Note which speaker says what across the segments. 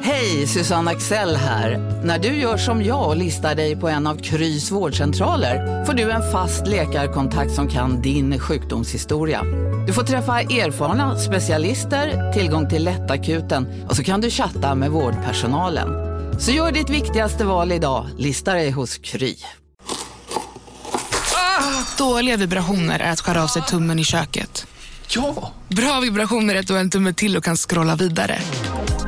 Speaker 1: Hej, Susanne Axel här. När du gör som jag och listar dig på en av Krys vårdcentraler får du en fast läkarkontakt som kan din sjukdomshistoria. Du får träffa erfarna specialister, tillgång till lättakuten och så kan du chatta med vårdpersonalen. Så gör ditt viktigaste val idag, listar dig hos Kry.
Speaker 2: Dåliga vibrationer är att skära av sig tummen i köket.
Speaker 3: Ja!
Speaker 2: Bra vibrationer är att du har en tumme till och kan scrolla vidare.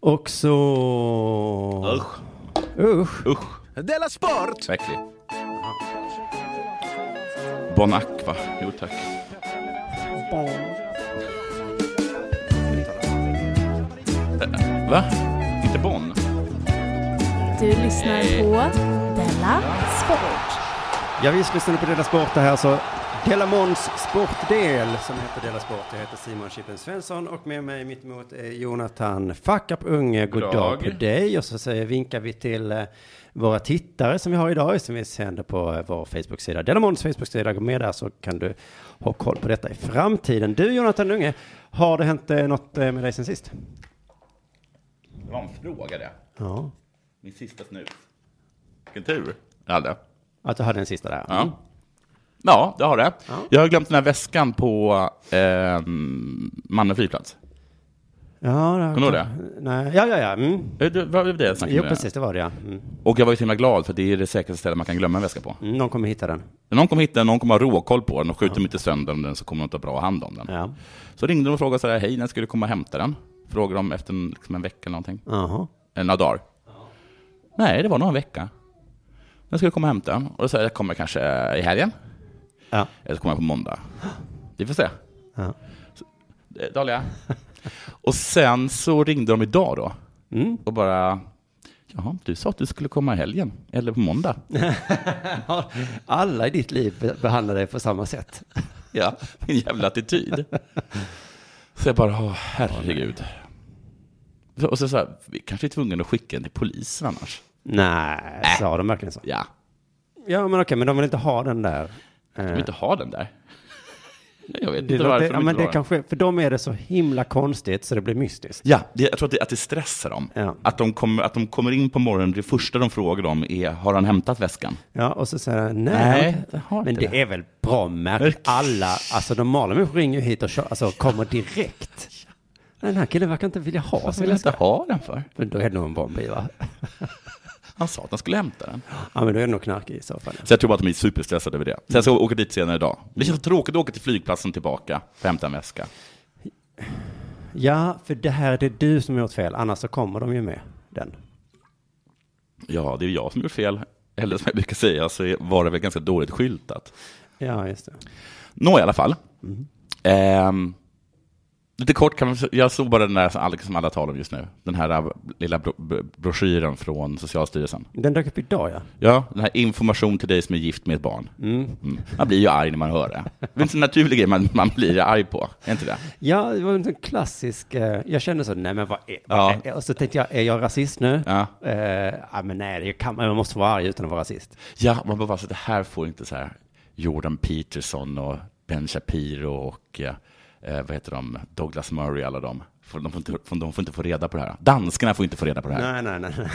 Speaker 4: Och så...
Speaker 3: Usch.
Speaker 4: Usch.
Speaker 3: Della Sport!
Speaker 5: Verkligen. Bon Aqua. Jo tack. Eh, Va? Inte Bon?
Speaker 6: Du lyssnar på Della Sport.
Speaker 4: Ja visst lyssnar ni på Della Sport det här så Della Måns sportdel som heter Della Sport. Jag heter Simon Chippen Svensson och med mig mittemot är Jonathan Fuck Up Unge. God
Speaker 5: Goddag.
Speaker 4: dag på dig. Och så säger, vinkar vi till eh, våra tittare som vi har idag som vi sänder på eh, vår Facebook-sida. Della Måns Facebook-sida. Gå med där så kan du ha koll på detta i framtiden. Du Jonathan Unge, har det hänt eh, något eh, med dig sen sist?
Speaker 5: Det var en fråga det.
Speaker 4: Ja.
Speaker 5: Min sista snus. Vilken tur jag hade.
Speaker 4: Att du hade en sista där?
Speaker 5: Ja. Ja, det har det.
Speaker 4: Ja.
Speaker 5: Jag har glömt den här väskan på eh, Malmö flygplats.
Speaker 4: Ja, det har-
Speaker 5: Kommer du ihåg
Speaker 4: Nej, ja, ja, ja. Mm.
Speaker 5: Eh, det- Vad var det jag snackade
Speaker 4: Jo,
Speaker 5: med?
Speaker 4: precis, det var det ja. Mm.
Speaker 5: Och jag var ju så himla glad för det är det säkraste stället man kan glömma en väska på.
Speaker 4: Mm, Någon kommer hitta den.
Speaker 5: Någon kommer hitta den, någon kommer ha råkoll på den och skjuter de inte sönder den så kommer de ta bra hand om den.
Speaker 4: Ja.
Speaker 5: Så ringde de och frågade så här, hej, när ska du komma och hämta den? Frågade de efter en, liksom en vecka eller någonting.
Speaker 4: Jaha.
Speaker 5: Eh, Några dagar. Nej, det var nog en vecka. När ska du komma och hämta den? Och då sa jag, jag kommer kanske eh, i helgen.
Speaker 4: Ja.
Speaker 5: Eller så kommer jag på måndag. Vi får se.
Speaker 4: Ja.
Speaker 5: Så, eh, Dahlia. och sen så ringde de idag då.
Speaker 4: Mm.
Speaker 5: Och bara, jaha, du sa att du skulle komma i helgen. Eller på måndag.
Speaker 4: Alla i ditt liv be- behandlar dig på samma sätt.
Speaker 5: Ja, min jävla attityd. Så jag bara, åh, herregud. Så- Och så så här, vi kanske är tvungna att skicka den till polisen annars.
Speaker 4: Nej, sa de verkligen så?
Speaker 5: Ja,
Speaker 4: Ja, men okej, men de vill inte ha den där. Eh,
Speaker 5: de vill inte ha den där. Jag vet
Speaker 4: det
Speaker 5: inte
Speaker 4: låter,
Speaker 5: varför de
Speaker 4: ja, men
Speaker 5: inte vill ha
Speaker 4: det
Speaker 5: den.
Speaker 4: kanske, för de är det så himla konstigt så det blir mystiskt.
Speaker 5: Ja, det, jag tror att det, att det stressar dem.
Speaker 4: Ja.
Speaker 5: Att, de kommer, att de kommer in på morgonen, det första de frågar om är, har han hämtat väskan?
Speaker 4: Ja, och så säger de, nej,
Speaker 5: Nej,
Speaker 4: jag
Speaker 5: jag
Speaker 4: har
Speaker 5: har
Speaker 4: men
Speaker 5: inte
Speaker 4: det,
Speaker 5: det.
Speaker 4: är väl bra märkt.
Speaker 5: Verk-
Speaker 4: Alla, alltså normala människor ringer ju hit och kör, alltså, kommer direkt. Den här killen verkar inte vilja ha
Speaker 5: Varför
Speaker 4: sin
Speaker 5: vill jag
Speaker 4: läska.
Speaker 5: inte ha den för?
Speaker 4: Men då är det nog en bomb i, va?
Speaker 5: Han sa att han skulle hämta den.
Speaker 4: Ja, men då är det nog knark i så fall.
Speaker 5: Så jag tror bara att de är superstressade över det. Sen ska jag åka dit senare idag. Det känns tråkigt att åka till flygplatsen tillbaka för att hämta en väska.
Speaker 4: Ja, för det här det är du som gjort fel, annars så kommer de ju med den.
Speaker 5: Ja, det är jag som gjort fel. Eller som jag brukar säga så var det väl ganska dåligt skyltat.
Speaker 4: Ja, just det.
Speaker 5: Nå i alla fall. Ehm, lite kort kan man, jag såg bara den där som alla, som alla talar om just nu. Den här äh, lilla bro, bro- broschyren från Socialstyrelsen.
Speaker 4: Den dök upp idag, ja.
Speaker 5: Ja, den här information till dig som är gift med ett barn. Mm. Man blir ju arg när man hör det. Det är inte en naturlig grej man, man blir arg på. Är inte det?
Speaker 4: Ja, det var en sån klassisk, eh, jag kände så, nej men vad är, vad
Speaker 5: Ja.
Speaker 4: är och så tänkte jag, är jag rasist nu?
Speaker 5: Ja.
Speaker 4: Eh, ja men nej, det kan, man man måste vara arg utan att vara rasist.
Speaker 5: Ja, man bara, alltså, det här får inte så här Jordan Peterson och Ben Shapiro och eh, eh, vad heter de, Douglas Murray, alla de. Får- De får, inte, får- de får inte få reda på det här. Danskarna får inte få reda på det här.
Speaker 4: Nej, nej, nej.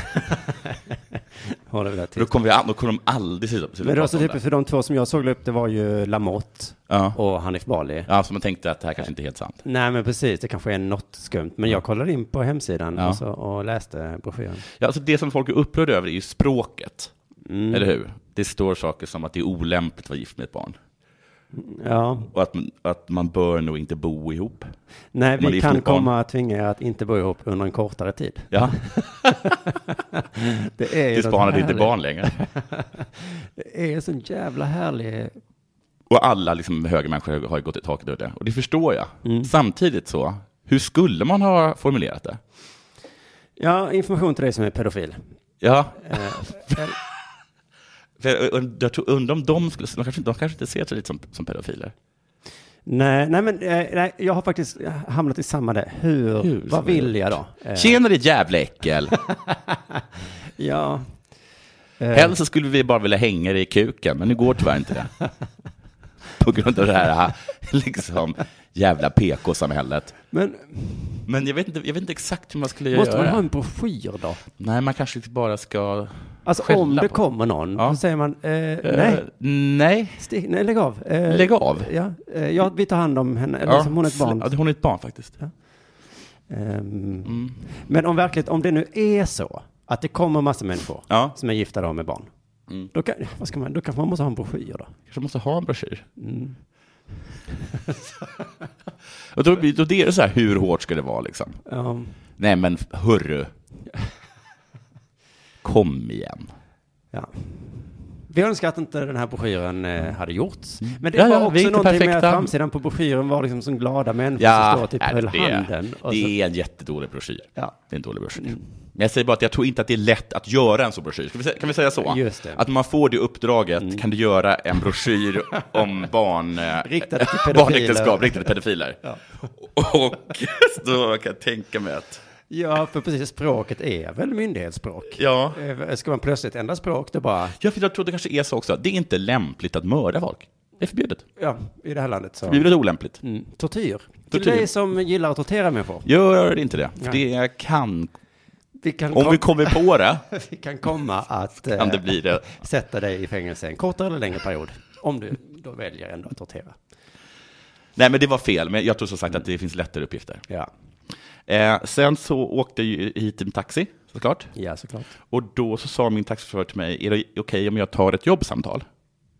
Speaker 4: nej. Håller vi där
Speaker 5: För
Speaker 4: till.
Speaker 5: då kommer, vi, an- då kommer de aldrig sluta sluta
Speaker 4: Men det var så
Speaker 5: prata om
Speaker 4: typiskt för de två som jag såg upp, det var ju Lamotte
Speaker 5: Ja.
Speaker 4: och Hanif Bali.
Speaker 5: Ja, så man tänkte att det här kanske inte är helt sant.
Speaker 4: Nej, men precis, det kanske är något skumt. Men jag kollade in på hemsidan
Speaker 5: Ja.
Speaker 4: och, så, och läste broschyren.
Speaker 5: Ja, alltså det som folk är upprörda över är ju språket.
Speaker 4: Mm.
Speaker 5: Eller hur? Det står saker som att det är olämpligt att vara gift med ett barn.
Speaker 4: Ja,
Speaker 5: Och att, att man bör nog inte bo ihop.
Speaker 4: nej,
Speaker 5: Om man
Speaker 4: vi
Speaker 5: är gift
Speaker 4: kan
Speaker 5: med barn.
Speaker 4: komma att tvinga er att inte bo ihop under en kortare tid.
Speaker 5: Ja,
Speaker 4: Det är ju
Speaker 5: tills
Speaker 4: något
Speaker 5: barnet inte är
Speaker 4: härligt.
Speaker 5: barn längre.
Speaker 4: Det är en sån jävla härlig
Speaker 5: Och alla liksom högermänniskor har ju gått i taket över det.
Speaker 4: Mm.
Speaker 5: Och det förstår jag. Samtidigt så, hur skulle man ha formulerat det?
Speaker 4: Ja, information till dig som är pedofil.
Speaker 5: Ja,
Speaker 4: Eh,
Speaker 5: för jag, und- jag tror- undrar om de skulle, de kanske, de kanske inte ser sig lite som, som pedofiler.
Speaker 4: nej, nej, men eh, nej, jag har faktiskt hamnat i samma där. Hur,
Speaker 5: Hur
Speaker 4: vad
Speaker 5: som
Speaker 4: vill jag då? Eh,
Speaker 5: Tjena ditt jävla äckel!
Speaker 4: ja, Eh.
Speaker 5: Helst så skulle vi bara vilja hänga dig i kuken, men nu går tyvärr inte det. På grund av det här liksom, jävla PK-samhället.
Speaker 4: men
Speaker 5: Men jag vet, inte, jag vet inte exakt hur man skulle
Speaker 4: måste
Speaker 5: göra.
Speaker 4: man ha en broschyr då?
Speaker 5: Nej, man kanske inte bara ska...
Speaker 4: Alltså
Speaker 5: Skälla
Speaker 4: om det
Speaker 5: på-
Speaker 4: kommer någon,
Speaker 5: Ja.
Speaker 4: så säger man eh,
Speaker 5: Eh,
Speaker 4: nej,
Speaker 5: nej.
Speaker 4: sti- nej, lägg av. Eh,
Speaker 5: Lägg av.
Speaker 4: Ja, eh, ja, vi tar hand om henne, eller
Speaker 5: Ja,
Speaker 4: som hon är ett barn.
Speaker 5: sl- Ja, hon är ett barn faktiskt.
Speaker 4: Ehm,
Speaker 5: Mm.
Speaker 4: Men om verkligt, om det nu är så att det kommer massa människor
Speaker 5: Ja.
Speaker 4: som är gifta då med barn,
Speaker 5: Mm.
Speaker 4: då, kan, vad ska man, då kanske man måste ha en broschyr då.
Speaker 5: kanske måste ha en broschyr.
Speaker 4: Mm.
Speaker 5: och då, blir- då är det så här, hur hårt ska det vara liksom?
Speaker 4: Ja,
Speaker 5: Nej men hörru. Kom igen.
Speaker 4: ja. Vi önskar att inte den här broschyren eh, hade gjorts. Men det
Speaker 5: Mm. Ja,
Speaker 4: var
Speaker 5: ja, vi är
Speaker 4: också
Speaker 5: inte
Speaker 4: någonting med
Speaker 5: perfekta.
Speaker 4: att framsidan på broschyren var liksom som glada människor som står typ
Speaker 5: nej,
Speaker 4: höll
Speaker 5: det,
Speaker 4: handen. Och så,
Speaker 5: det är en jättedålig broschyr.
Speaker 4: Ja.
Speaker 5: Det är en dålig broschyr. Men jag säger bara att jag tror inte att det är lätt att göra en sån broschyr. Ska vi, sä- kan vi säga så?
Speaker 4: Just det. Mm.
Speaker 5: Att om man får det uppdraget kan du göra en broschyr om barn, eh,
Speaker 4: Riktad till pedofiler.
Speaker 5: barnäktenskap riktat till pedofiler. Och då kan jag tänka mig att,
Speaker 4: ja, för precis, språket är väl myndighetsspråk?
Speaker 5: ja.
Speaker 4: Eh, Ska man plötsligt ändra språk, det bara,
Speaker 5: Ja, för jag tror det kanske är så också. Det är inte lämpligt att mörda folk. Det är förbjudet.
Speaker 4: ja, i det här landet så.
Speaker 5: Förbjudet och olämpligt.
Speaker 4: Mm. Tortyr. Till
Speaker 5: Tortyr.
Speaker 4: dig som gillar att tortera människor.
Speaker 5: Gör inte det. För
Speaker 4: Nej.
Speaker 5: det kan,
Speaker 4: Vi kan,
Speaker 5: om
Speaker 4: kom-
Speaker 5: vi kommer på det,
Speaker 4: vi kan komma att
Speaker 5: kan
Speaker 4: eh,
Speaker 5: det bli det.
Speaker 4: sätta dig i fängelse en kortare eller längre period. Om du då väljer ändå att tortera.
Speaker 5: Nej, men det var fel. Men jag tror som sagt att det finns lättare uppgifter.
Speaker 4: Ja,
Speaker 5: Eh, sen så åkte jag ju hit med taxi, såklart.
Speaker 4: ja såklart.
Speaker 5: Och då så sa min taxichaufför till mig, är det okej om jag tar ett jobbsamtal?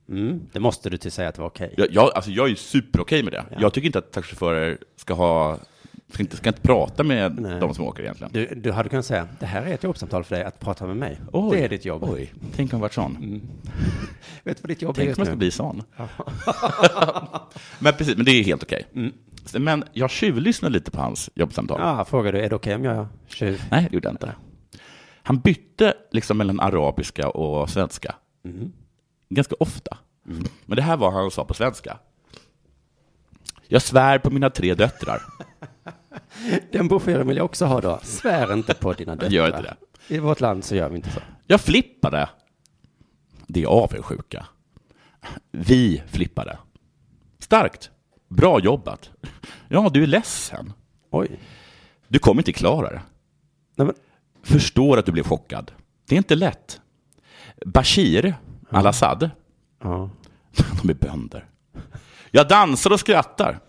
Speaker 4: Mm. Det måste du till säga att det var okej.
Speaker 5: Jag, jag, alltså, jag är ju superokej med det. Jag tycker inte att taxichaufförer ska ha, ska inte, ska inte prata med
Speaker 4: Nej.
Speaker 5: de som åker egentligen.
Speaker 4: Du, du hade kunnat säga, det här är ett jobbsamtal för dig att prata med mig.
Speaker 5: Oj.
Speaker 4: Det är ditt jobb.
Speaker 5: Oj, tänk om jag varit sån.
Speaker 4: Mm. Vet du vad ditt jobb är
Speaker 5: Tänk
Speaker 4: just
Speaker 5: om jag ska
Speaker 4: nu?
Speaker 5: bli sån. men precis, men det är helt okej.
Speaker 4: Mm.
Speaker 5: Så- Men jag tjuvlyssnade lite på hans jobbsamtal.
Speaker 4: Ja, frågar du, är det okej om jag tjuv?
Speaker 5: Nej, det gjorde jag inte. Han bytte liksom mellan arabiska och svenska. Ganska ofta. Men det här var vad han sa på svenska. Jag svär på mina tre döttrar.
Speaker 4: Den broschyren vill jag också ha då. Svär inte på dina döttrar.
Speaker 5: Gör inte det.
Speaker 4: I vårt land så gör vi inte så.
Speaker 5: Jag flippade. Det är avundsjuka. Vi flippade. Starkt. Bra jobbat. Ja, du är ledsen.
Speaker 4: Oj.
Speaker 5: Du kommer inte klara det.
Speaker 4: Nej, men,
Speaker 5: Förstår att du blev chockad. Det är inte lätt. Bashir al-Assad,
Speaker 4: ja.
Speaker 5: de är bönder. Jag dansar och skrattar.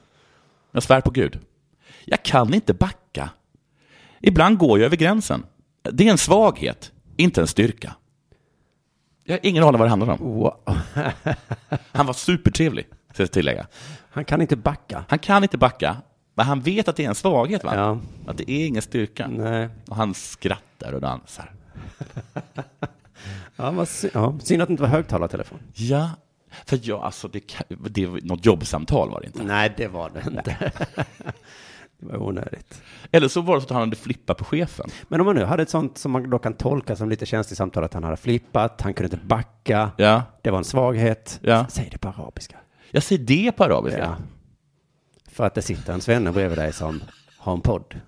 Speaker 5: Jag svär på Gud. Jag kan inte backa. Ibland går jag över gränsen. Det är en svaghet, inte en styrka. Jag har ingen aning vad det handlar om.
Speaker 4: Wow.
Speaker 5: Han var supertrevlig, ska jag tillägga.
Speaker 4: Han kan inte backa.
Speaker 5: Han kan inte backa, men han vet att det är en svaghet, va?
Speaker 4: Ja.
Speaker 5: Att det är ingen styrka.
Speaker 4: Nej.
Speaker 5: Och han skrattar och dansar.
Speaker 4: Ja, vad sy- ja, synd att det inte var högtalartelefon.
Speaker 5: Ja, för jag, alltså, det, kan- det är något jobbsamtal var det inte.
Speaker 4: Nej, det var det inte. det var onödigt.
Speaker 5: Eller så var det så att han hade flippat på chefen.
Speaker 4: Men om man nu hade ett sånt som man då kan tolka som lite känsligt samtal, att han hade flippat, han kunde inte backa,
Speaker 5: Ja.
Speaker 4: det var en svaghet.
Speaker 5: Ja.
Speaker 4: Säg det på arabiska.
Speaker 5: Jag säger det på arabiska.
Speaker 4: Ja. För att det sitter en svenne bredvid dig som har en podd.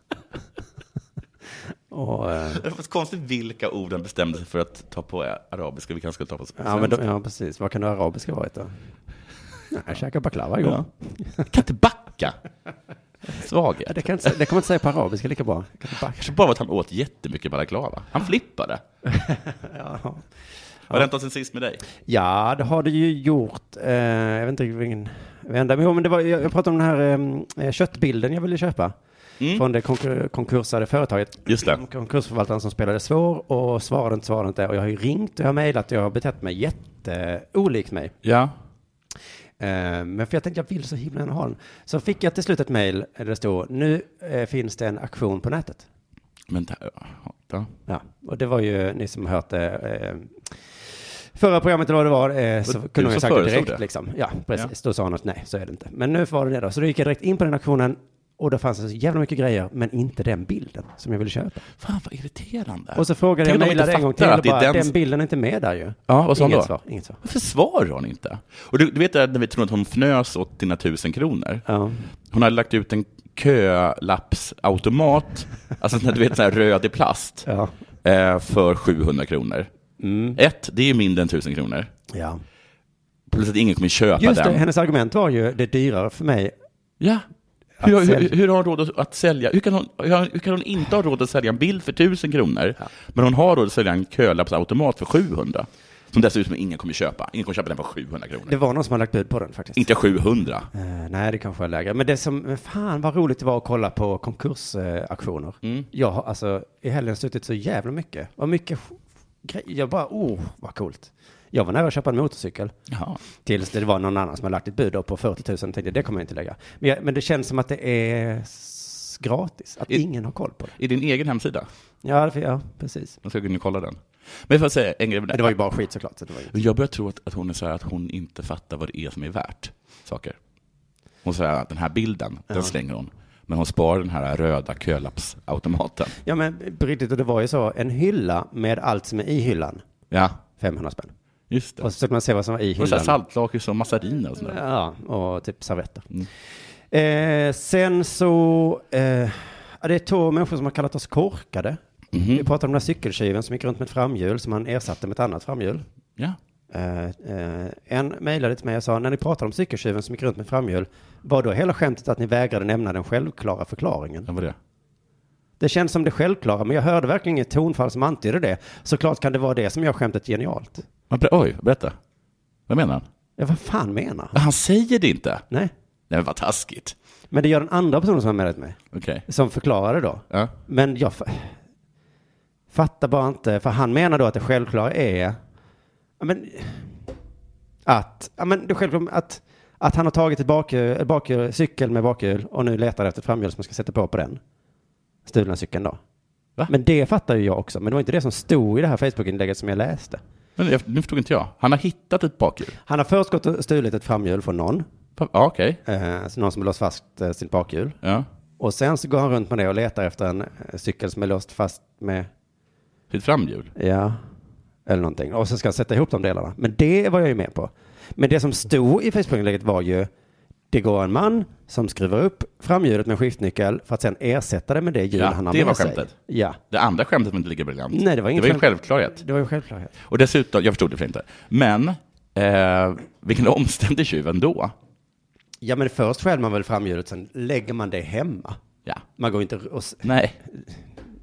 Speaker 4: Och, eh,
Speaker 5: Det var konstigt vilka ord han bestämde sig för att ta på arabiska. Vi kanske skulle ta på svenska.
Speaker 4: ja, men då, ja, precis. Vad kan det arabiska varit då? Nej, Jag käkar baklava igår.
Speaker 5: Jag kan inte backa.
Speaker 4: Ja.
Speaker 5: Svaghet.
Speaker 4: Det, kan jag inte, sä- det kan man inte säga på arabiska lika bra. Jag kan inte backa.
Speaker 5: Kanske bara var att han åt jättemycket balaklava. Han flippade. Har det hänt något sen sist med dig?
Speaker 4: Ja, det har det ju gjort. Eh, jag vet inte riktigt vilken vända. Men, jo, men det var, jag, jag pratade om den här eh, köttbilden jag ville köpa. Från det konkur, konkursade företaget.
Speaker 5: Mm. Just det.
Speaker 4: Konkursförvaltaren som spelade svår och svarade inte, svarade inte. Och jag har ju ringt och jag har mejlat och jag har betett mig jätteolikt mig.
Speaker 5: Ja.
Speaker 4: Eh, men för jag tänkte jag vill så himla gärna ha den. Så fick jag till slut ett mejl där det stod nu eh, finns det en aktion på nätet.
Speaker 5: Men det, ja.
Speaker 4: Ja, och det var ju ni som har hört det. Eh, förra programmet eller vad det var, eh, så
Speaker 5: Det var du
Speaker 4: kunde man ju
Speaker 5: som
Speaker 4: sagt det
Speaker 5: föreslog
Speaker 4: direkt.
Speaker 5: det.
Speaker 4: Liksom. Ja, precis. Då sa han att nej, så är det inte. Men nu var det det då. Så då gick jag direkt in på den aktionen Och då fanns det så jävla mycket grejer, men inte den bilden som jag ville köpa.
Speaker 5: Fan vad irriterande.
Speaker 4: Och så frågade jag,
Speaker 5: Tänk om de
Speaker 4: mejlade
Speaker 5: inte
Speaker 4: en gång till och
Speaker 5: fattar att det
Speaker 4: bara,
Speaker 5: är
Speaker 4: den...
Speaker 5: den
Speaker 4: bilden är inte med där ju.
Speaker 5: Ja, vad sa han
Speaker 4: inget
Speaker 5: då?
Speaker 4: Svar, inget svar.
Speaker 5: Varför svarar hon inte? Och du, du vet det här när vi tror att hon fnös åt dina tusen kronor?
Speaker 4: Ja.
Speaker 5: Hon hade lagt ut en kölappsautomat, alltså när du vet sån här röd i plast,
Speaker 4: Ja.
Speaker 5: eh, för 700 kronor.
Speaker 4: Mm.
Speaker 5: Ett, det är ju mindre än 1000 kronor.
Speaker 4: ja.
Speaker 5: Plus att ingen kommer köpa
Speaker 4: Just det,
Speaker 5: den.
Speaker 4: hennes argument var ju, det är dyrare för mig.
Speaker 5: Ja. Hur,
Speaker 4: Att sälja.
Speaker 5: hur, hur har hon råd att sälja? Hur kan, hon, hur, hur kan hon inte ha råd att sälja en bil för 1000 kronor, men hon har råd att sälja en kölappsautomat för 700? Som dessutom ingen kommer köpa. Ingen kommer köpa den för 700 kronor.
Speaker 4: Det var någon som hade lagt bud på den faktiskt.
Speaker 5: Inte 700.
Speaker 4: Eh, nej, det kanske är lägre. Men det som, men fan vad roligt det var att kolla på konkursaktioner. Eh, auktioner.
Speaker 5: Mm.
Speaker 4: Jag har alltså i helgen suttit så jävla mycket. Vad mycket sk- grejer. Jag bara, oh, vad coolt. Jag var nära att köpa en motorcykel.
Speaker 5: Jaha.
Speaker 4: Tills det var någon annan som hade lagt ett bud då på 40 000. Tänkte jag, det kommer jag inte lägga. Men, jag, men det känns som att det är s- gratis. Att
Speaker 5: I-
Speaker 4: ingen har koll på det.
Speaker 5: I din egen hemsida?
Speaker 4: Ja, det- ja precis.
Speaker 5: Jag ska gå in och kolla den. Men jag får säga en grej. med
Speaker 4: Men det var ju bara skit såklart. Så det var ju...
Speaker 5: Jag börjar tro att, att hon är så här att hon inte fattar vad det är som är värt saker. Hon säger att den här bilden, den slänger hon. Men hon sparar den här röda kölappsautomaten.
Speaker 4: Ja, men på riktigt. Och det var ju så. En hylla med allt som är i hyllan.
Speaker 5: Ja,
Speaker 4: 500 spänn.
Speaker 5: just det.
Speaker 4: Och så försökte man se vad som var i
Speaker 5: Och så här
Speaker 4: hyllan.
Speaker 5: saltlakris och massariner och sånt där.
Speaker 4: Ja, och typ servetter. Eh, sen så, eh, ja, det är två människor som har kallat oss korkade. Vi pratade om den här cykeltjuven som gick runt med ett framhjul som han ersatte med ett annat framhjul.
Speaker 5: Ja.
Speaker 4: Eh, eh, en mejlade till mig och sa, när ni pratade om cykeltjuven som gick runt med framhjul, var då hela skämtet att ni vägrade nämna den självklara förklaringen?
Speaker 5: Det var det.
Speaker 4: Det känns som det självklara, men jag hörde verkligen inget tonfall som antydde det. Såklart kan det vara det som gör skämtet genialt.
Speaker 5: Men ber- Oj, berätta. Vad menar han?
Speaker 4: Ja, vad fan menar han?
Speaker 5: Ah, Han säger det inte.
Speaker 4: Nej,
Speaker 5: Nej, men vad taskigt.
Speaker 4: men det gör den andra personen som har mejlat mig.
Speaker 5: Okej.
Speaker 4: Som förklarade då.
Speaker 5: Ja.
Speaker 4: Men jag fa- fattar bara inte, för han menar då att det självklara är ja, men, att, ja, men det självklara, att, att han har tagit ett bakhjul, ett bakhjul, cykel med bakhjul och nu letar efter ett framhjul som man ska sätta på på den stulna cykeln då.
Speaker 5: Va?
Speaker 4: Men det fattar ju jag också, men det var inte det som stod i det här Facebook-inlägget som jag läste.
Speaker 5: Men jag, nu förstod inte jag. Han har hittat ett bakhjul.
Speaker 4: Han har först gått och stulit ett framhjul från någon,
Speaker 5: Ja, okej.
Speaker 4: eh, så någon som har låst fast eh, sitt bakhjul.
Speaker 5: Ja.
Speaker 4: Och sen så går han runt med det och letar efter en eh, cykel som är låst fast med
Speaker 5: Sitt framhjul.
Speaker 4: Ja, eller någonting. Och så ska jag sätta ihop de delarna. Men det var jag ju med på. Men det som stod i Facebook-inlägget var ju det går en man som skruvar upp framhjulet med skiftnyckel för att sen ersätta det med det hjul
Speaker 5: Ja,
Speaker 4: han har
Speaker 5: det
Speaker 4: med
Speaker 5: var
Speaker 4: sig.
Speaker 5: skämtet.
Speaker 4: Ja,
Speaker 5: Det andra skämtet var inte lika briljant.
Speaker 4: Nej, det var inget
Speaker 5: Det var ju
Speaker 4: skämt.
Speaker 5: en självklarhet.
Speaker 4: det var ju självklarhet.
Speaker 5: Och dessutom, jag förstod det för inte, men eh, vilken omständig tjuv ändå.
Speaker 4: Ja, men först skäl man väl framhjulet, sen lägger man det hemma.
Speaker 5: Ja.
Speaker 4: Man går inte och s-
Speaker 5: Nej.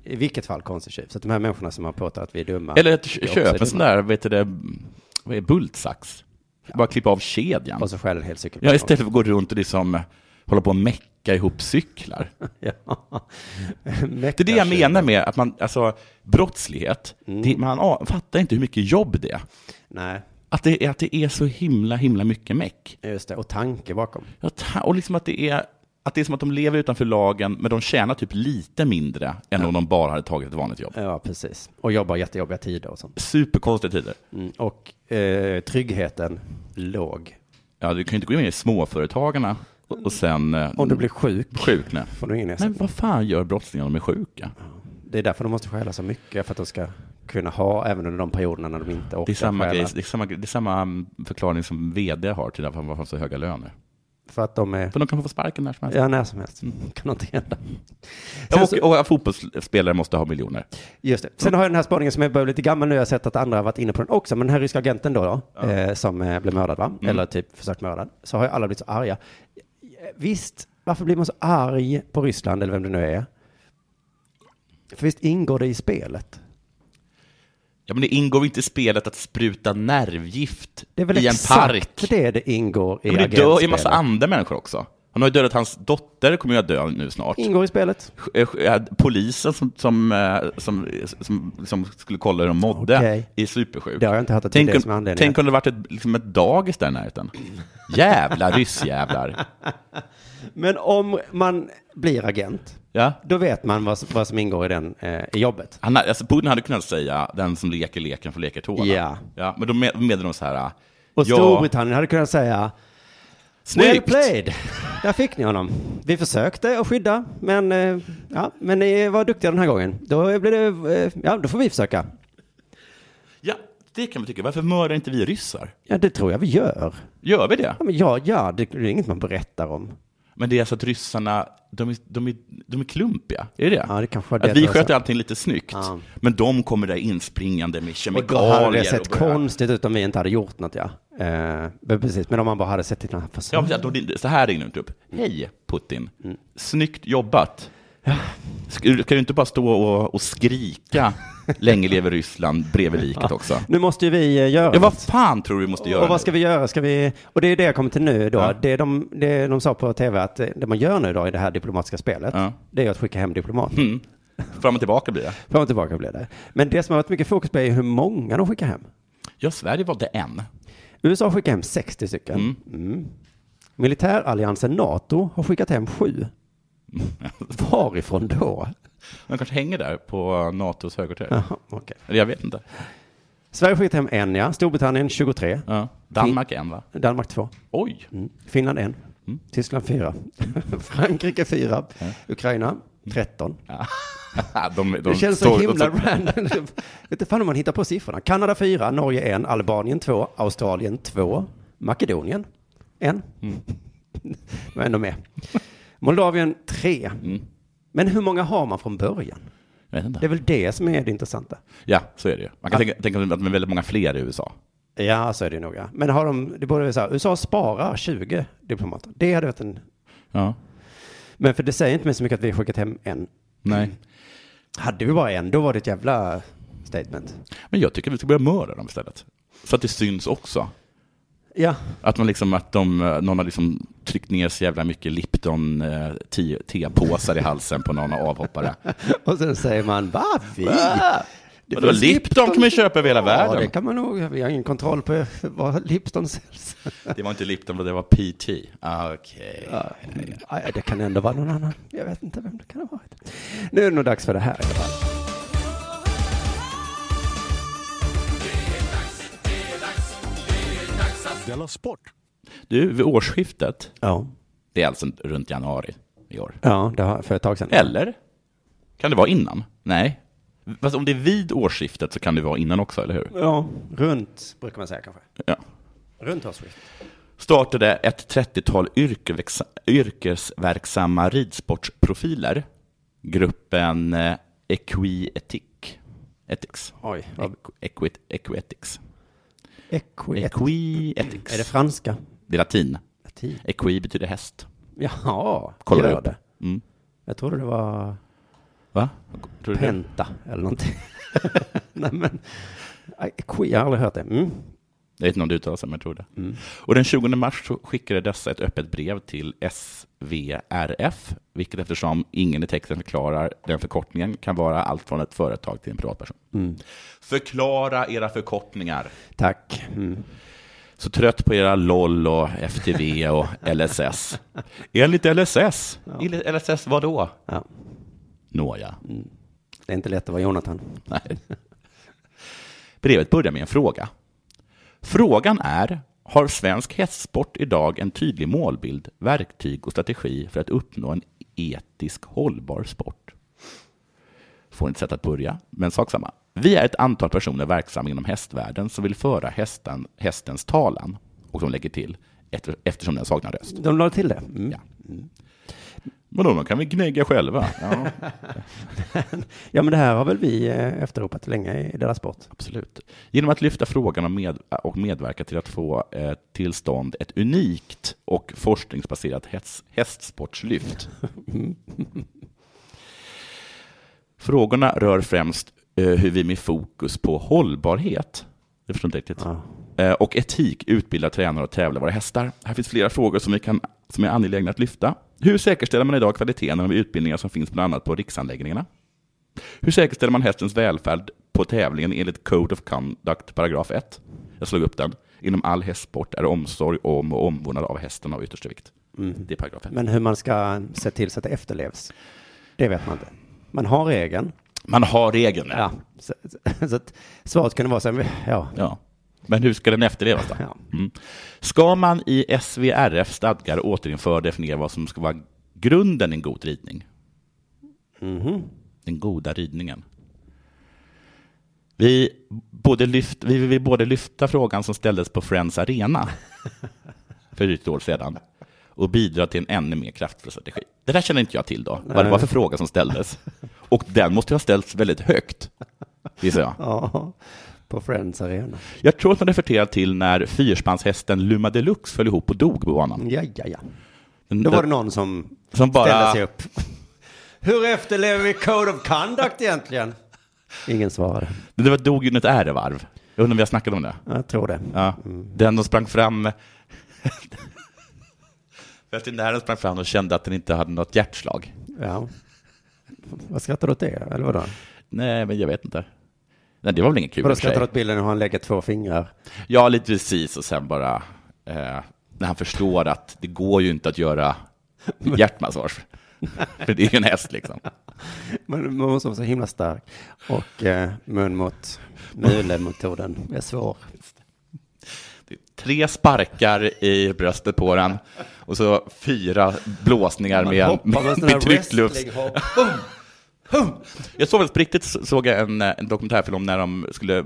Speaker 4: i vilket fall konstig tjuv. Så att de här människorna som har påtalat att vi är dumma.
Speaker 5: Eller att
Speaker 4: är
Speaker 5: kö-
Speaker 4: också
Speaker 5: köpa
Speaker 4: dumma.
Speaker 5: en sån där, vet du det, vad är det, bultsax? Bara klippa av kedjan.
Speaker 4: Och så stjäl en hel cykel.
Speaker 5: Ja, istället för att gå runt och liksom hålla på och mecka ihop cyklar.
Speaker 4: Ja.
Speaker 5: Det är det jag menar med att man, alltså brottslighet,
Speaker 4: Mm.
Speaker 5: det, man a- fattar inte hur mycket jobb det är.
Speaker 4: Nej,
Speaker 5: Att det, är- att det är så himla, himla mycket meck.
Speaker 4: just det. Och tanke bakom.
Speaker 5: Jag ta- Och liksom att det är, att det är som att de lever utanför lagen, men de tjänar typ lite mindre än om de bara hade tagit ett vanligt jobb.
Speaker 4: Ja, precis. Och jobbar jättejobbiga tider och sånt.
Speaker 5: Superkonstiga tider.
Speaker 4: Mm, och eh, tryggheten låg.
Speaker 5: Ja, du kan ju inte gå in i småföretagarna och, och sen... eh,
Speaker 4: Om du blir sjuk
Speaker 5: Sjuk, nej.
Speaker 4: får du ingen
Speaker 5: Men
Speaker 4: ersättning.
Speaker 5: vad fan gör brottslingar om de är sjuka?
Speaker 4: Det är därför de måste stjäla så mycket, för att de ska kunna ha även under de perioderna när de inte orkar
Speaker 5: Det är samma,
Speaker 4: stjäla.
Speaker 5: grej, det är samma, det är samma mm, förklaring som vd har till varför de har så höga löner.
Speaker 4: För att de är,
Speaker 5: För de kan få sparken när som helst.
Speaker 4: ja när som helst, kan inte hända.
Speaker 5: Mm. Ja,
Speaker 4: Sen,
Speaker 5: och,
Speaker 4: så,
Speaker 5: och att fotbollsspelare måste ha miljoner.
Speaker 4: just det. Sen har jag den här spaningen som är börjar bli lite gammal nu, jag har sett att andra har varit inne på den också, men den här ryska agenten då, då eh, som eh, blev mördad va?
Speaker 5: Mm.
Speaker 4: Eller typ försökt mördad, så har ju alla blivit så arga. Eh, Visst, varför blir man så arg på Ryssland eller vem det nu är? För visst ingår det i spelet?
Speaker 5: Ja, men det ingår inte i spelet att spruta nervgift
Speaker 4: Det är väl
Speaker 5: i en
Speaker 4: exakt
Speaker 5: park.
Speaker 4: det det ingår i
Speaker 5: Ja, men det dör ju en massa
Speaker 4: agentspelet.
Speaker 5: andra människor också. Han har ju dödat hans dotter, kommer ju att dö nu snart.
Speaker 4: Ingår i spelet.
Speaker 5: Eh, eh, Polisen som, som, eh, som, som, som skulle kolla hur de mådde
Speaker 4: Okej.
Speaker 5: är supersjuk.
Speaker 4: Det har jag inte hört att det är
Speaker 5: tänk
Speaker 4: det som är
Speaker 5: om,
Speaker 4: anledningen.
Speaker 5: tänk om det varit ett, liksom ett dagis där i närheten. Jävla ryssjävlar.
Speaker 4: Men om man blir agent,
Speaker 5: Ja.
Speaker 4: då vet man vad, som- vad som ingår i, den, eh, i jobbet.
Speaker 5: Han, alltså Putin hade kunnat säga den som leker leken får leka tårna.
Speaker 4: Ja.
Speaker 5: Ja, men då med- menade de så här.
Speaker 4: Och
Speaker 5: ja,
Speaker 4: Storbritannien hade kunnat säga
Speaker 5: Snyggt!
Speaker 4: Well played! Där fick ni honom. Vi försökte att skydda, men, eh, ja, men ni var duktiga den här gången. Då, blir det, eh, ja, då får vi försöka.
Speaker 5: Ja, det kan man tycka. Varför mördar inte vi ryssar?
Speaker 4: Ja, det tror jag vi gör.
Speaker 5: Gör vi det?
Speaker 4: Ja, men ja, ja det, det är inget man berättar om.
Speaker 5: Men det är alltså att ryssarna, de är, de är, de är klumpiga, är det
Speaker 4: Ja, det kanske var det.
Speaker 5: Att vi
Speaker 4: då, så-
Speaker 5: sköter allting lite snyggt,
Speaker 4: Ja.
Speaker 5: men de kommer där inspringande med
Speaker 4: Och
Speaker 5: kemikalier.
Speaker 4: då hade det sett
Speaker 5: och börjar-
Speaker 4: konstigt ut om vi inte hade gjort något, ja. Eh, men precis, men om man bara hade sett till den här
Speaker 5: Ja,
Speaker 4: personen.
Speaker 5: men så här, så här ringer de upp. typ. Hej Putin,
Speaker 4: Mm.
Speaker 5: snyggt jobbat. Ska ska du inte bara stå och, och skrika länge lever Ryssland bredvid liket också?
Speaker 4: Nu måste ju vi eh, göra
Speaker 5: Ja, vad
Speaker 4: något.
Speaker 5: fan tror du vi måste göra
Speaker 4: Och
Speaker 5: nu?
Speaker 4: vad ska vi göra? Ska vi... Och det är det jag kommer till nu då.
Speaker 5: Ja.
Speaker 4: Det, de, det de sa på tv att eh, det man gör nu då i det här diplomatiska spelet,
Speaker 5: Ja.
Speaker 4: det är att skicka hem diplomater.
Speaker 5: Mm. Fram och tillbaka blir det.
Speaker 4: Fram och tillbaka blir det. Men det som har varit mycket fokus på är hur många de skickar hem.
Speaker 5: Ja, Sverige valde en.
Speaker 4: USA skickar hem 60 stycken. Mm. Militäralliansen NATO har skickat hem sju. Varifrån då?
Speaker 5: De kanske hänger där på NATOs högkvarter.
Speaker 4: Jaha, okej.
Speaker 5: Eller jag vet inte.
Speaker 4: Sverige har skickat hem en, ja. Storbritannien 23.
Speaker 5: Ja. Danmark en, va?
Speaker 4: Danmark 2.
Speaker 5: Oj!
Speaker 4: Finland 1. Tyskland 4. Frankrike 4. Ukraina 13.
Speaker 5: De, de
Speaker 4: Det känns så
Speaker 5: står-
Speaker 4: himla random. Jag vet inte fan om man hittar på siffrorna. Kanada 4, Norge 1, Albanien 2, Australien 2, Makedonien 1. De är ändå med. Moldavien 3. Men hur många har man från början?
Speaker 5: Jag vet inte.
Speaker 4: Det är väl det som är det intressanta.
Speaker 5: Ja, så är det ju. Man kan tänka, tänka att de är väldigt många fler i USA.
Speaker 4: Ja, så är det nog. ja. Men har de, det borde vara så här, USA sparar 20 diplomater. Det hade varit en...
Speaker 5: Ja.
Speaker 4: Men för det säger inte mig så mycket att vi har skickat hem en.
Speaker 5: Nej.
Speaker 4: Hade vi bara en, då var det ett jävla statement.
Speaker 5: Men jag tycker vi ska börja mörda dem istället. Så att det syns också.
Speaker 4: Ja,
Speaker 5: Att, man liksom, att de, eh, någon har liksom tryckt ner så jävla mycket Lipton eh, te- tepåsar i halsen på någon avhoppare.
Speaker 4: och sen säger man, va? Vi?
Speaker 5: Det var Lipton kan man köpa över hela
Speaker 4: Ja, det
Speaker 5: världen.
Speaker 4: kan man nog. Vi har ingen kontroll på vad Lipton säljs.
Speaker 5: Det var inte Lipton, det var PT. Ah, Okej.
Speaker 4: Ja, ja, det kan ändå vara någon annan. Jag vet inte vem det kan ha varit. Nu är det nog dags för det här i alla fall.
Speaker 3: Della Sport!
Speaker 5: Du, vid årsskiftet,
Speaker 4: Ja,
Speaker 5: det är alltså runt januari i år.
Speaker 4: ja det har för ett tag sedan.
Speaker 5: Eller? Kan det vara innan? Nej. Fast om det är vid årsskiftet så kan det vara innan också, eller hur?
Speaker 4: Ja, runt brukar man säga kanske.
Speaker 5: Ja.
Speaker 4: Runt årsskiftet.
Speaker 5: startade ett 30-tal yrkevexa- yrkesverksamma ridsportsprofiler. Gruppen eh, Equietic. Ethics.
Speaker 4: Oj, vad...
Speaker 5: Equ- Equit- Equietics.
Speaker 4: Equiet.
Speaker 5: Equietics.
Speaker 4: Är det franska?
Speaker 5: Det är latin.
Speaker 4: Latin.
Speaker 5: Equi betyder häst.
Speaker 4: Jaha,
Speaker 5: Kollar
Speaker 4: gör
Speaker 5: du upp?
Speaker 4: det.
Speaker 5: Mm.
Speaker 4: Jag trodde det var
Speaker 5: Va? Tror du det?
Speaker 4: penta eller någonting. Nej men, Equi, jag har aldrig hört det. Mm.
Speaker 5: Jag vet inte om det uttalas så, men jag tror det. Och den 20 mars så skickade dessa ett öppet brev till SVRF, vilket eftersom ingen i texten förklarar den förkortningen kan vara allt från ett företag till en privatperson. Förklara era förkortningar.
Speaker 4: Tack. Mm.
Speaker 5: Så trött på era LOL och FTV och LSS. Enligt LSS. Enligt LSS vad då?
Speaker 4: Ja.
Speaker 5: Nåja.
Speaker 4: Det är inte lätt att vara Jonathan.
Speaker 5: Nej. Brevet börjar med en fråga. Frågan är, har svensk hästsport idag en tydlig målbild, verktyg och strategi för att uppnå en etisk hållbar sport? Får inte sätt att börja, men sak samma. Vi är ett antal personer verksamma inom hästvärlden som vill föra hästen, hästens talan. Och de lägger till, efter, eftersom den saknar röst.
Speaker 4: De la till det. Mm.
Speaker 5: Ja. Vadå, de kan vi gnägga själva? Ja.
Speaker 4: Ja, men det här har väl vi eh, efterropat länge i deras sport.
Speaker 5: Absolut. Genom att lyfta frågan och, med, och medverka till att få eh, till stånd ett unikt och forskningsbaserat häst, hästsportslyft. Frågorna rör främst eh, hur vi med fokus på hållbarhet, jag förstår inte riktigt, eh, och etik utbildar tränare och tävlar våra hästar. Här finns flera frågor som, vi kan, som är angelägna att lyfta. Hur säkerställer man idag kvaliteten av utbildningar som finns bland annat på riksanläggningarna? Hur säkerställer man hästens välfärd på tävlingen enligt Code of Conduct paragraf 1? Jag slog upp den. Inom all hästsport är omsorg om och omvårdnad av hästen av yttersta vikt. Det är paragraf 1.
Speaker 4: Mm. Men hur man ska se till så att det efterlevs, det vet man inte. Man har regeln.
Speaker 5: Man har regeln.
Speaker 4: Ja. Så, så att svaret kunde vara så här, ja,
Speaker 5: Ja. Men hur ska den efterlevas då?
Speaker 4: Ja.
Speaker 5: Mm. Ska man i SVRF stadgar återinföra och definiera vad som ska vara grunden i en god ridning? Den goda ridningen. Vi, både lyft, vi vill både lyfta frågan som ställdes på Friends Arena för ett år sedan och bidra till en ännu mer kraftfull strategi. Det där känner inte jag till då, vad det var för fråga som ställdes. Och den måste ju ha ställts väldigt högt, gissar jag.
Speaker 4: Ja, på Friends Arena.
Speaker 5: Jag tror att man refererar till när fyrspanshästen Luma Deluxe föll ihop och dog på banan.
Speaker 4: Ja, ja, ja.
Speaker 5: Den-
Speaker 4: Då var det någon som
Speaker 5: Som bara-
Speaker 4: ställde sig upp. Hur efterlever vi Code of Conduct egentligen? Ingen svarade.
Speaker 5: det var dog under ett ärevarv. Jag undrar om vi har snackat om det.
Speaker 4: Jag tror det.
Speaker 5: Ja.
Speaker 4: Mm.
Speaker 5: Den som sprang fram... Veterinären sprang fram och kände att den inte hade något hjärtslag.
Speaker 4: Ja. Vad skrattar du åt det? Eller vadå?
Speaker 5: Nej, men jag vet inte. Nej, det var väl inget kul i
Speaker 4: Vadå
Speaker 5: och för sig.
Speaker 4: skrattar du åt bilden hur han lägger två fingrar?
Speaker 5: Ja, lite precis. Och sen bara eh, när han förstår att det går ju inte att göra hjärtmassage. För det är ju en häst liksom.
Speaker 4: Men man måste vara så himla stark. Och eh, mun mot mule-metoden är svår.
Speaker 5: Tre sparkar i bröstet på den och så fyra blåsningar med, en-
Speaker 4: Hoppar med
Speaker 5: med,
Speaker 4: sådana här
Speaker 5: tryckt luft.
Speaker 4: wrestlinghopp.
Speaker 5: Jag såg väl på riktigt så- såg jag en, eh, en dokumentärfilm om när de skulle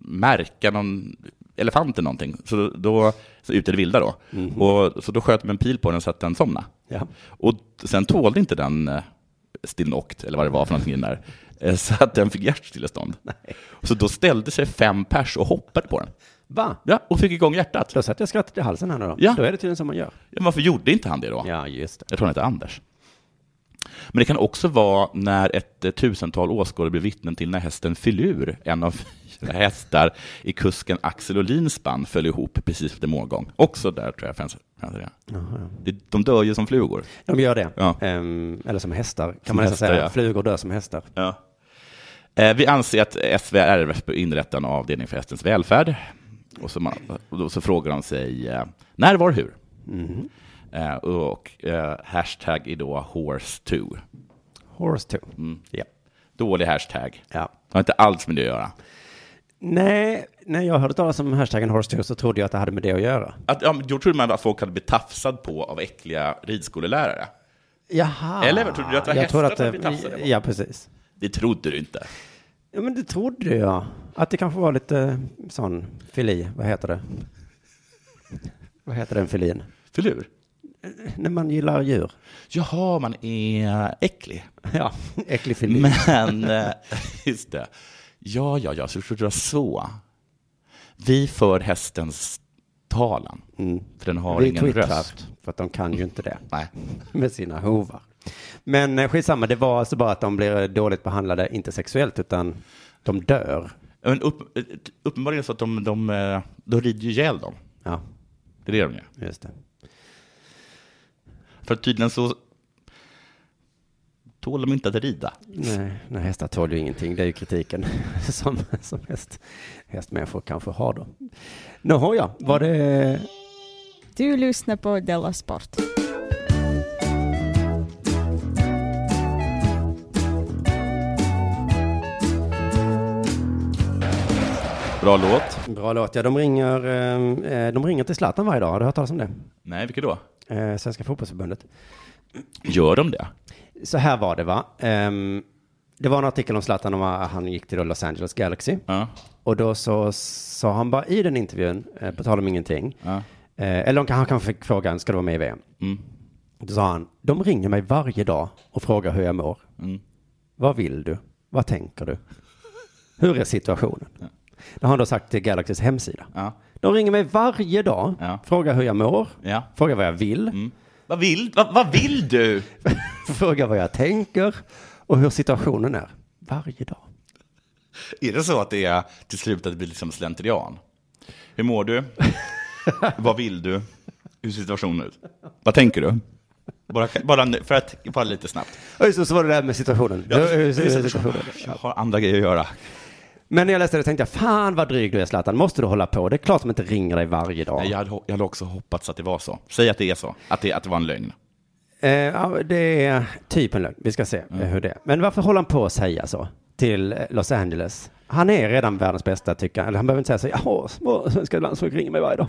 Speaker 5: märka någon elefant eller någonting. Så då- då, så ute i det vilda då. Och, så då sköt de en pil på den så att den somnade.
Speaker 4: Ja.
Speaker 5: Och sen tålde inte den eh, stillnokt, eller vad det var för någonting i den där. eh, Så att den fick hjärtstillestånd. Så då ställde sig fem pers och hoppade på den.
Speaker 4: Va?
Speaker 5: Ja, och fick igång hjärtat.
Speaker 4: Då satt jag skrattet i halsen här nu då.
Speaker 5: Ja.
Speaker 4: Då är det tydligen som man gör.
Speaker 5: Ja, varför gjorde inte han det då?
Speaker 4: Ja, just det.
Speaker 5: Jag tror han heter Anders. Men det kan också vara när ett eh, tusental åskådare blir vittnen till när hästen Filur, en av fyra hästar i kusken Axel Olins spann, föll ihop precis efter målgång. Också där tror jag fans, fans är. Det- De dör ju som flugor.
Speaker 4: De gör det.
Speaker 5: Ja.
Speaker 4: Ehm, eller som hästar, kan
Speaker 5: Som
Speaker 4: man nästan
Speaker 5: hästar,
Speaker 4: säga.
Speaker 5: ja.
Speaker 4: Flugor dör som hästar.
Speaker 5: Ja. Eh, Vi anser att SVRF bör inrätta en avdelning för hästens välfärd. Och så, man, och då så frågar de sig eh, när, var, hur. Eh, Och eh, hashtag är då horse2.
Speaker 4: Horse too.
Speaker 5: Mm.
Speaker 4: Ja.
Speaker 5: Dålig hashtag.
Speaker 4: ja.
Speaker 5: Det har inte alls med det att göra.
Speaker 4: Nej, när jag hörde talas om hashtaggen horse too så trodde jag att det hade med det att göra.
Speaker 5: Att, ja, men då trodde man att folk hade blivit tafsad på av äckliga ridskolelärare.
Speaker 4: Jaha.
Speaker 5: Eller vad trodde du att det var
Speaker 4: jag
Speaker 5: hästar
Speaker 4: trodde att
Speaker 5: som
Speaker 4: det-
Speaker 5: blev tafsade på?
Speaker 4: Ja, precis.
Speaker 5: Det trodde du inte.
Speaker 4: Ja, men det trodde jag. Att det kanske var lite eh, sån fili, vad heter det? vad heter den filin?
Speaker 5: Förlur?
Speaker 4: När man gillar djur.
Speaker 5: Jaha, man är äcklig.
Speaker 4: Ja, äcklig fili.
Speaker 5: Men, eh, just det. Ja, ja, ja, så du trodde jag så. Vi för hästens talan, för den har
Speaker 4: Vi
Speaker 5: ingen
Speaker 4: twittrar,
Speaker 5: röst.
Speaker 4: För att de kan ju inte det.
Speaker 5: Nej.
Speaker 4: Med sina hovar. Men eh, skitsamma, det var alltså bara att de blir dåligt behandlade, inte sexuellt, utan de dör.
Speaker 5: Men upp, eh, uppenbarligen så att de, de, eh, de rider ju ihjäl dem.
Speaker 4: Ja,
Speaker 5: Det är det de gör.
Speaker 4: just det.
Speaker 5: För tydligen så tål de inte att rida.
Speaker 4: Nej, nej, hästar tål ju ingenting. Det är ju kritiken som, som häst, hästmänniskor kanske har då. Nå, ja, var det...
Speaker 6: Du lyssnar på Della Sport.
Speaker 5: Bra låt.
Speaker 4: Bra låt. Ja, de ringer, eh, de ringer till Zlatan varje dag. Har du hört talas om det?
Speaker 5: Nej, vilka då?
Speaker 4: Eh, Svenska fotbollsförbundet.
Speaker 5: Gör de det?
Speaker 4: Så här var det, va? Ehm, det var en artikel om Zlatan om att han gick till då Los Angeles Galaxy.
Speaker 5: Ja.
Speaker 4: Och då så sa han bara i den intervjun, eh, på tal om ingenting, eh, eller han kan- han kanske fick frågan, ska du vara med i VM?
Speaker 5: Mm.
Speaker 4: Då sa han, de ringer mig varje dag och frågar hur jag mår.
Speaker 5: Mm.
Speaker 4: Vad vill du? Vad tänker du? Hur är situationen? Det har han då sagt till Galaxys hemsida.
Speaker 5: Ja.
Speaker 4: De ringer mig varje dag,
Speaker 5: Ja.
Speaker 4: frågar hur jag mår,
Speaker 5: Ja. Mm.
Speaker 4: frågar vad jag vill,
Speaker 5: Vad vill, vad, vad vill du?
Speaker 4: frågar vad jag tänker och hur situationen är. Varje dag.
Speaker 5: Är det så att det är till slut att det blir liksom slentrian? Hur mår du? vad vill du? Hur ser situationen ut? Vad tänker du? Bara, bara, nu- för att, bara lite snabbt.
Speaker 4: Och just så- så var det där med situationen.
Speaker 5: Ja,
Speaker 4: Hur- hur- hur-
Speaker 5: hur ser
Speaker 4: hur- situationen.
Speaker 5: Jag har andra grejer att göra.
Speaker 4: Men när jag läste det tänkte jag, fan vad dryg du är Zlatan, måste du hålla på? Det är klart de inte ringer dig varje dag.
Speaker 5: Nej, jag, hade, ho- jag hade också hoppats att det var så. Säg att det är så, att det, att det var en lögn.
Speaker 4: Eh, ja, det är typ en lögn, vi ska se eh, hur det är. Men varför håller han på att säga så till eh, Los Angeles? Han är redan världens bästa tycker han. Eller han behöver inte säga så, jaha, små svenska landslag ringer mig varje dag.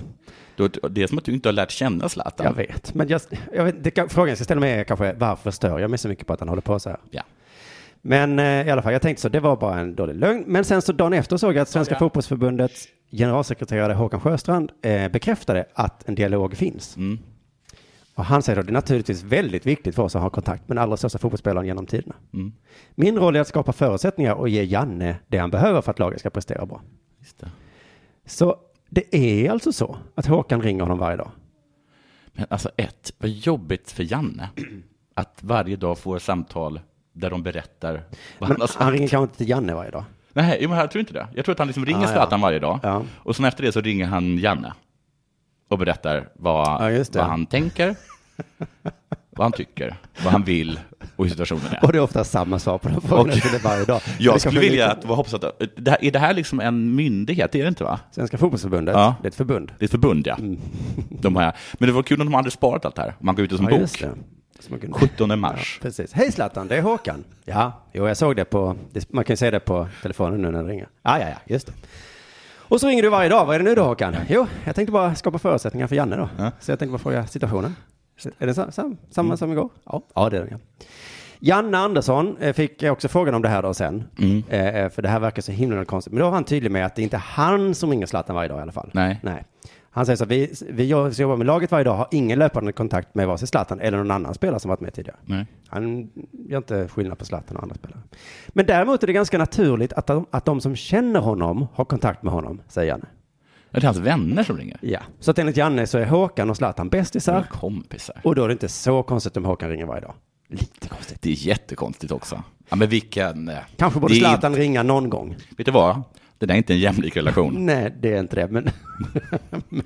Speaker 5: Då- Det är som att du inte har lärt känna Zlatan.
Speaker 4: Jag vet, men jag, jag vet, det, kan- frågan jag ska ställa mig är kanske varför stör jag mig så mycket på att han håller på så här?
Speaker 5: Ja.
Speaker 4: Men eh, i alla fall, jag tänkte så, det var bara en dålig lögn. Men sen så dagen efter såg jag att Svenska fotbollsförbundets generalsekreterare Håkan Sjöstrand eh, bekräftade att en dialog finns.
Speaker 5: Mm.
Speaker 4: Och han säger då, det är naturligtvis väldigt viktigt för oss att ha kontakt med den allra största fotbollsspelaren genom tiderna.
Speaker 5: Mm.
Speaker 4: Min roll är att skapa förutsättningar och ge Janne det han behöver för att laget ska prestera bra.
Speaker 5: Just det.
Speaker 4: Så det är alltså så att Håkan ringer honom varje dag.
Speaker 5: Men alltså ett, vad jobbigt för Janne att varje dag få ett samtal där de berättar vad
Speaker 4: Men
Speaker 5: han har sagt.
Speaker 4: han ringer kanske inte till Janne varje dag.
Speaker 5: Nej, jo, men jag tror inte det. Jag tror att han liksom ringer
Speaker 4: Ah, ja.
Speaker 5: Zlatan varje dag
Speaker 4: Ja.
Speaker 5: och sen efter det så ringer han Janne och berättar
Speaker 4: Ja,
Speaker 5: vad,
Speaker 4: just det.
Speaker 5: vad han tänker, vad han tycker, vad han vill och hur situationen är.
Speaker 4: Och det är ofta samma svar på de frågorna
Speaker 5: Och-
Speaker 4: till det varje dag. Men det
Speaker 5: Jag
Speaker 4: kanske
Speaker 5: skulle
Speaker 4: är
Speaker 5: vilja
Speaker 4: lite-
Speaker 5: att, vad hoppas att, det här, är det här liksom en myndighet? Det är det inte va?
Speaker 4: Svenska fotbollsförbundet,
Speaker 5: Ja.
Speaker 4: det är ett förbund.
Speaker 5: Det är ett förbund ja.
Speaker 4: Mm.
Speaker 5: De här. Men det var kul om de hade sparat allt det här. Man går ut i som
Speaker 4: Ja, just
Speaker 5: bok.
Speaker 4: det. Så man kunde-
Speaker 5: 17 mars.
Speaker 4: Ja, precis. Hej Zlatan, det är Håkan. Ja, jo jag såg det på, det- man kan ju säga det på telefonen nu när det ringer. Ja, ja, ja, just det. Och så ringer du varje dag, vad är det nu då Håkan? Jo, jag tänkte bara skapa förutsättningar för Janne då. Så jag tänkte bara fråga situationen. Är det sam, sam, samma som igår? Ja, ja det är det. Ja. Janne Andersson eh, fick också frågan om det här då sen. Eh, eh, För det här verkar så himla konstigt. Men då var han tydlig med att det är inte han som ringer Zlatan varje dag i alla fall.
Speaker 5: Nej.
Speaker 4: Nej. Han säger så här, vi, vi jobbar- jobbar med laget varje dag, har ingen löpande kontakt med vare sig Zlatan eller någon annan spelare som varit med tidigare.
Speaker 5: Nej.
Speaker 4: Han gör inte skillnad på Zlatan och andra spelare. Men däremot är det ganska naturligt att de, att de som känner honom har kontakt med honom, säger Janne.
Speaker 5: Det är hans vänner som ringer.
Speaker 4: Ja. Så att enligt Janne så är Håkan och Zlatan bästisar.
Speaker 5: Kompisar.
Speaker 4: Och då är det inte så konstigt om Håkan ringer varje dag.
Speaker 5: Lite konstigt. Det är jättekonstigt också. Ja, men vilken... eh,
Speaker 4: Kanske borde
Speaker 5: det är
Speaker 4: Zlatan ringa någon gång.
Speaker 5: inte- Mm. Vet du vad? Det där är inte en jämlik relation.
Speaker 4: Nej, det är inte det. Men, men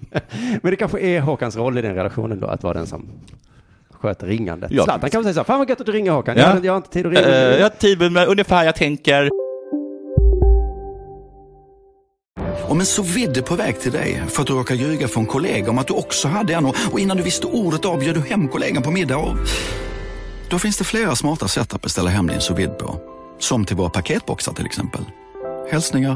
Speaker 4: det kanske är Håkans roll i den relationen då, att vara den som sköter ringandet.
Speaker 5: Ja.
Speaker 4: Zlatan kan väl säga så här, fan vad gött att du ringer Håkan, jag, har- jag har inte tid att ringa.
Speaker 5: Eh, jag har tid med ungefär jag tänker.
Speaker 7: Om en så vidde på väg till dig för att du råkar ljuga från kollega om att du också hade en och och innan du visste ordet av bjöd du hem kollegan på middag och... Då finns det flera smarta sätt att beställa hem din sous vide på. Som till våra paketboxar till exempel. Hälsningar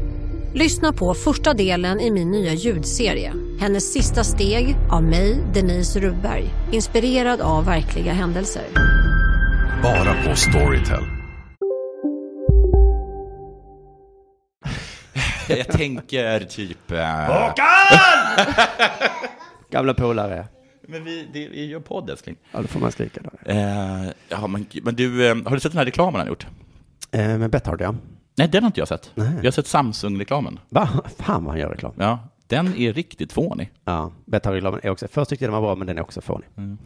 Speaker 8: Lyssna på första delen i min nya ljudserie. Hennes sista steg av mig, Denise Rubberg. Inspirerad av verkliga händelser.
Speaker 7: Bara på Storytel.
Speaker 5: Jag tänker typ... eh,
Speaker 4: Gamla polare.
Speaker 5: Men vi, det, vi gör podd älskling.
Speaker 4: Ja, då får man skrika där.
Speaker 5: Eh, ja, men, men du, eh, har du sett den här reklamen han gjort?
Speaker 4: Eh, men Betthard ja.
Speaker 5: Nej, den har inte jag sett. Jag har sett Samsung-reklamen.
Speaker 4: Va? Fan vad han gör reklam.
Speaker 5: Ja, den är riktigt fånig.
Speaker 4: Ja, Betthard-reklamen är också, först tyckte jag den var bra men den är också fånig.
Speaker 5: Mm.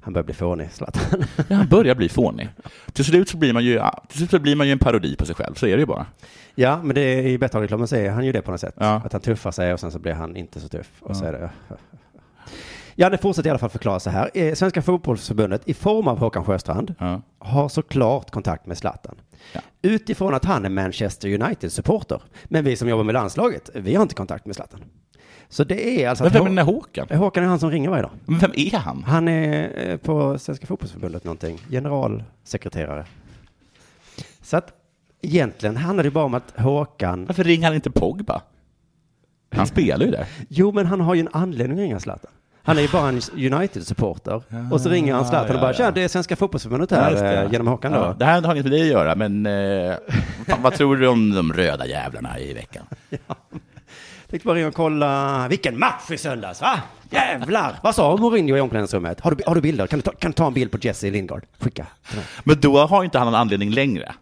Speaker 4: Han börjar bli fånig, Zlatan.
Speaker 5: Ja, han börjar bli fånig. Till slut så blir man ju, ja, till slut så blir man ju en parodi på sig själv, så är det ju bara.
Speaker 4: ja, men det, är- i Betthard-reklamen så är han ju det på något sätt.
Speaker 5: Ja.
Speaker 4: Att han tuffar sig och sen så blir han inte så tuff. Och så är det... Ja, det fortsätter i alla fall förklara så här. Eh, Svenska fotbollsförbundet i form av Håkan Sjöstrand
Speaker 5: Ja.
Speaker 4: har såklart kontakt med Zlatan.
Speaker 5: Ja.
Speaker 4: Utifrån att han är Manchester United-supporter. Men vi som jobbar med landslaget, vi har inte kontakt med Zlatan. Så det är alltså...
Speaker 5: Men
Speaker 4: att
Speaker 5: vem är
Speaker 4: Hå-
Speaker 5: den här Håkan?
Speaker 4: Håkan är han som ringer varje dag.
Speaker 5: Men vem är han?
Speaker 4: Han är eh, på Svenska fotbollsförbundet någonting, generalsekreterare. Så att egentligen handlar det bara om att Håkan,
Speaker 5: Varför ringer han inte Pogba? Han spelar ju där.
Speaker 4: jo men han har ju en anledning att ringa Zlatan. Han är ju bara en United-supporter. och så ringer han Zlatan och bara, tja det är Svenska fotbollsförbundet här eh, genom Håkan då.
Speaker 5: Ja, det här har inget med dig att göra, men eh, fan, vad tror du om de röda jävlarna i veckan?
Speaker 4: Tänkte bara ringa och kolla, vilken match i söndags va? Jävlar! Vad sa Mourinho i omklädningsrummet? Har du, har du bilder? Kan du, ta, kan du ta en bild på Jesse Lindgard? Skicka.
Speaker 5: Men då har inte han någon anledning längre.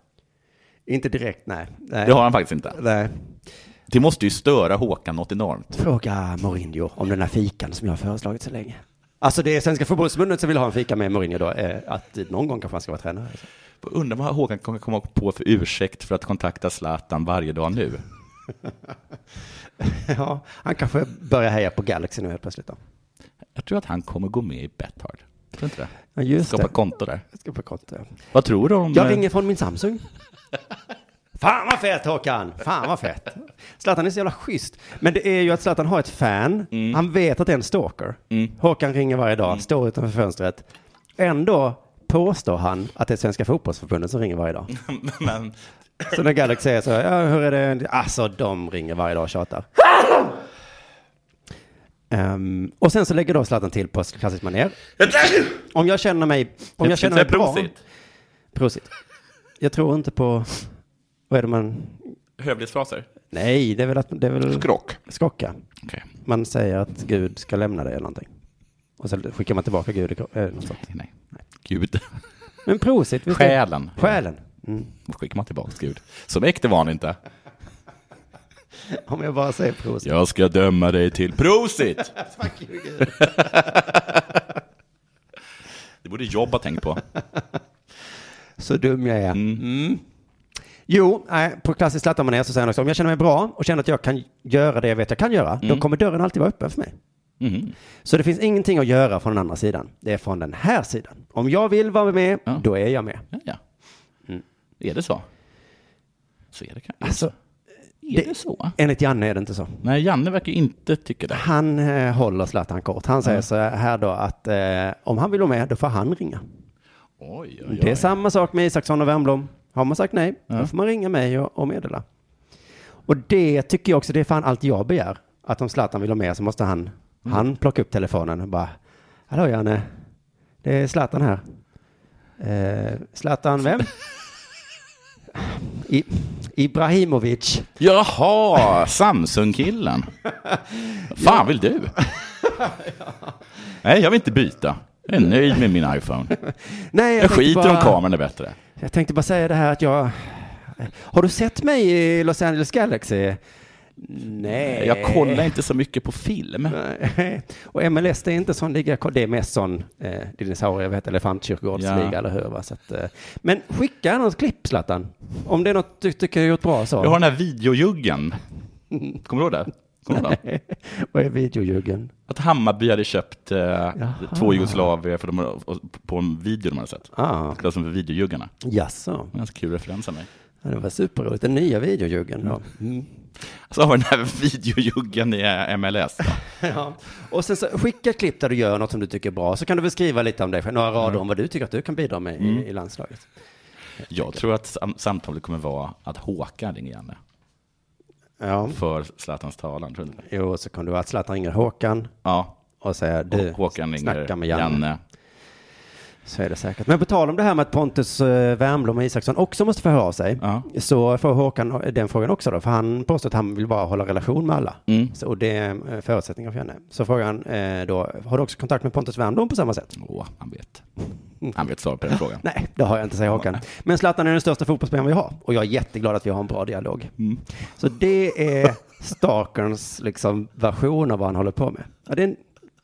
Speaker 4: Inte direkt, nej. nej.
Speaker 5: Det har han faktiskt inte.
Speaker 4: Nej.
Speaker 5: Det måste ju störa Håkan något enormt.
Speaker 4: Fråga Mourinho om den här fikan som jag har föreslagit så länge. Alltså det är Svenska fotbollsförbundet som vill ha en fika med Mourinho då, eh, att någon gång kanske han ska vara tränare.
Speaker 5: Undrar vad Håkan kommer komma på för ursäkt för att kontakta Zlatan varje dag nu.
Speaker 4: ja, han kanske börjar heja på Galaxy nu helt plötsligt då.
Speaker 5: Jag tror att han kommer gå med i Bethard. Tror du inte det?
Speaker 4: Ja, just
Speaker 5: Skapa
Speaker 4: det.
Speaker 5: konto där.
Speaker 4: Skapa konto, ja.
Speaker 5: Vad tror du om...
Speaker 4: Jag
Speaker 5: eh,
Speaker 4: ringer från min Samsung. Fan vad fett Håkan! Fan vad fett! Zlatan är så jävla schysst. Men det är ju att Zlatan har ett fan.
Speaker 5: Mm.
Speaker 4: Han vet att det är en stalker. Håkan ringer varje dag, står utanför fönstret. Ändå påstår han att det är Svenska fotbollsförbundet som ringer varje dag.
Speaker 5: Men,
Speaker 4: Så när Galax säger så, ja, hur är det? Alltså de ringer varje dag och tjatar. Ehm, och sen så lägger då Zlatan till på klassiskt manér. Om jag känner mig, om jag
Speaker 5: ska
Speaker 4: känner mig
Speaker 5: inte säga
Speaker 4: bra.
Speaker 5: prosit.
Speaker 4: Prosit. Jag tror inte på, vad är det man,
Speaker 5: Hövlighetsfraser?
Speaker 4: nej det är väl att, det är väl
Speaker 5: Skrock.
Speaker 4: Skocka.
Speaker 5: Okej.
Speaker 4: Man säger att Gud ska lämna dig eller någonting. Och så skickar man tillbaka Gud. i kro- eh, något sånt.
Speaker 5: Nej. Gud.
Speaker 4: Men prosit. vi ska-
Speaker 5: Själen.
Speaker 4: Själen. Mm.
Speaker 5: Då skickar man tillbaka Gud. Så mäktig var han inte.
Speaker 4: Om jag bara säger prosit.
Speaker 5: Jag ska döma dig till prosit!
Speaker 4: Fuck you, Gud.
Speaker 5: Det borde jobb ha tänkt på.
Speaker 4: Så dum jag är. Mm. Jo, nej, på klassiskt Zlatan-manér så säger han också om jag känner mig bra och känner att jag kan göra det jag vet jag kan göra,
Speaker 5: Mm.
Speaker 4: då kommer dörren alltid vara öppen för mig.
Speaker 5: Mhm.
Speaker 4: Så det finns ingenting att göra från den andra sidan. Det är från den här sidan. Om jag vill vara med,
Speaker 5: Ja.
Speaker 4: då är jag med.
Speaker 5: Ja, ja. Är det så? Så är det kanske.
Speaker 4: Alltså,
Speaker 5: är det så?
Speaker 4: Enligt Janne är det inte så.
Speaker 5: Nej, Janne verkar ju inte tycka det.
Speaker 4: Han eh, håller Zlatan kort. Han säger så här då att eh, om han vill vara med, då får han ringa.
Speaker 5: Oj, oj,
Speaker 4: Det är samma sak med Isaksson och Wernbloom. Har man sagt nej, då får man ringa mig och, och meddela. Och det tycker jag också, det är fan allt jag begär. Att om Zlatan vill ha med så måste han,
Speaker 5: Mm.
Speaker 4: han plocka upp telefonen och bara, hallå Janne, det är Zlatan här. Eh, Zlatan vem? I, Ibrahimovic.
Speaker 5: Jaha, Samsung-killen. fan vill du? Nej, jag vill inte byta. Jag är nöjd med min iPhone.
Speaker 4: Nej,
Speaker 5: Jag,
Speaker 4: tänkte
Speaker 5: skiter om
Speaker 4: bara-
Speaker 5: kameran är bättre.
Speaker 4: Jag tänkte bara säga det här att jag... Har du sett mig i Los Angeles Galaxy? Nej.
Speaker 5: Jag kollar inte så mycket på film.
Speaker 4: Nej. Och MLS det är inte sån liga, det är mest sån eh, dinosaurie, vad heter det, elefantkyrkogårdsliga
Speaker 5: Ja.
Speaker 4: eller hur? Va? Så att, eh, men skicka något klipp Zlatan. Om det är något du tycker jag gjort bra så.
Speaker 5: Jag har den här videojuggen. Kommer du ihåg det? Kommer du ihåg det?
Speaker 4: Vad är videojuggen?
Speaker 5: Att Hammarby hade köpt eh, två jugoslavier för de, på en video de hade sett.
Speaker 4: Ah.
Speaker 5: Det var som för videojuggarna.
Speaker 4: Jaså?
Speaker 5: En ganska kul referens av mig.
Speaker 4: Ja, det var superroligt. Den nya videojuggen då.
Speaker 5: Mm. Så har vi den här videojuggen i eh, MLS. Då.
Speaker 4: Ja. Och sen så skicka ett klipp där du gör något som du tycker är bra, så kan du väl skriva lite om dig själv, några rader om vad du tycker att du kan bidra med
Speaker 5: Mm.
Speaker 4: i, i landslaget.
Speaker 5: Jag tror att sam- samtalet kommer vara att Håkan ringer Janne
Speaker 4: Ja.
Speaker 5: för Zlatans talan. Tror du inte?
Speaker 4: Jo, och så kan du vara att Zlatan ringer Håkan
Speaker 5: Ja,
Speaker 4: och säger du,
Speaker 5: och Håkan ringer
Speaker 4: Eh, snacka med Janne. Så är det säkert. Men på tal om det här med att Pontus eh, Wernbloom och Isaksson också måste få höra av sig,
Speaker 5: Ja.
Speaker 4: så får Håkan eh, den frågan också då, för han påstår att han vill bara hålla relation med alla.
Speaker 5: Mm.
Speaker 4: Så, och det är eh, förutsättningar för henne. Så frågan eh, då, har du också kontakt med Pontus Wernbloom på samma sätt?
Speaker 5: Åh, han vet. Han vet svaret på den frågan.
Speaker 4: Nej, det har jag inte, säger Håkan. Men Zlatan är den största fotbollsspelaren vi har och jag är jätteglad att vi har en bra dialog.
Speaker 5: Mm.
Speaker 4: Så det är Starkerns liksom, version av vad han håller på med. Ja, det, är en,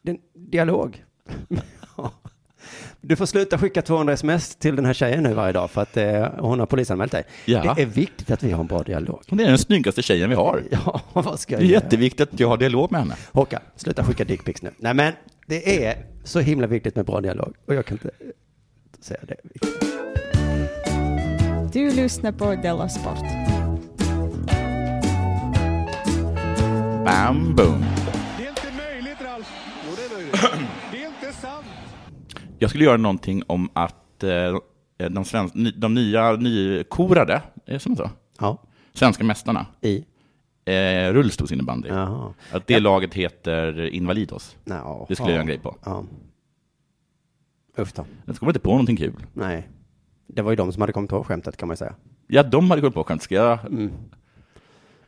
Speaker 4: det är en dialog. Ja. Du får sluta skicka 200 sms till den här tjejen nu varje dag för att eh, hon har polisanmält dig.
Speaker 5: Ja.
Speaker 4: Det är viktigt att vi har en bra dialog.
Speaker 5: Hon är den snyggaste tjejen vi har.
Speaker 4: Ja, vad ska
Speaker 5: Det
Speaker 4: jag
Speaker 5: är
Speaker 4: göra?
Speaker 5: jätteviktigt att jag har dialog med henne.
Speaker 4: Håkan, sluta skicka dickpics nu. Nej men, det är så himla viktigt med bra dialog och jag kan inte eh, säga det.
Speaker 6: Du lyssnar på Della Sport.
Speaker 5: Bam, boom.
Speaker 3: Det är inte möjligt, Ralf. Jo, det är möjligt. Det är inte sant.
Speaker 5: Jag skulle göra någonting om att eh, de, svensk, ny- de nya nykorade, är det som så?
Speaker 4: Ja,
Speaker 5: Svenska mästarna,
Speaker 4: i.
Speaker 5: eh, rullstolsinnebandy.
Speaker 4: Jaha.
Speaker 5: Att det laget heter Invalidos.
Speaker 4: No.
Speaker 5: Det skulle jag göra en grej på.
Speaker 4: Ja. Usch då.
Speaker 5: Jag kommer inte på någonting kul.
Speaker 4: Nej. Det var ju de som hade kommit på skämtet kan man ju säga.
Speaker 5: Ja, de hade kommit på skämt. Ska jag...
Speaker 3: Mm.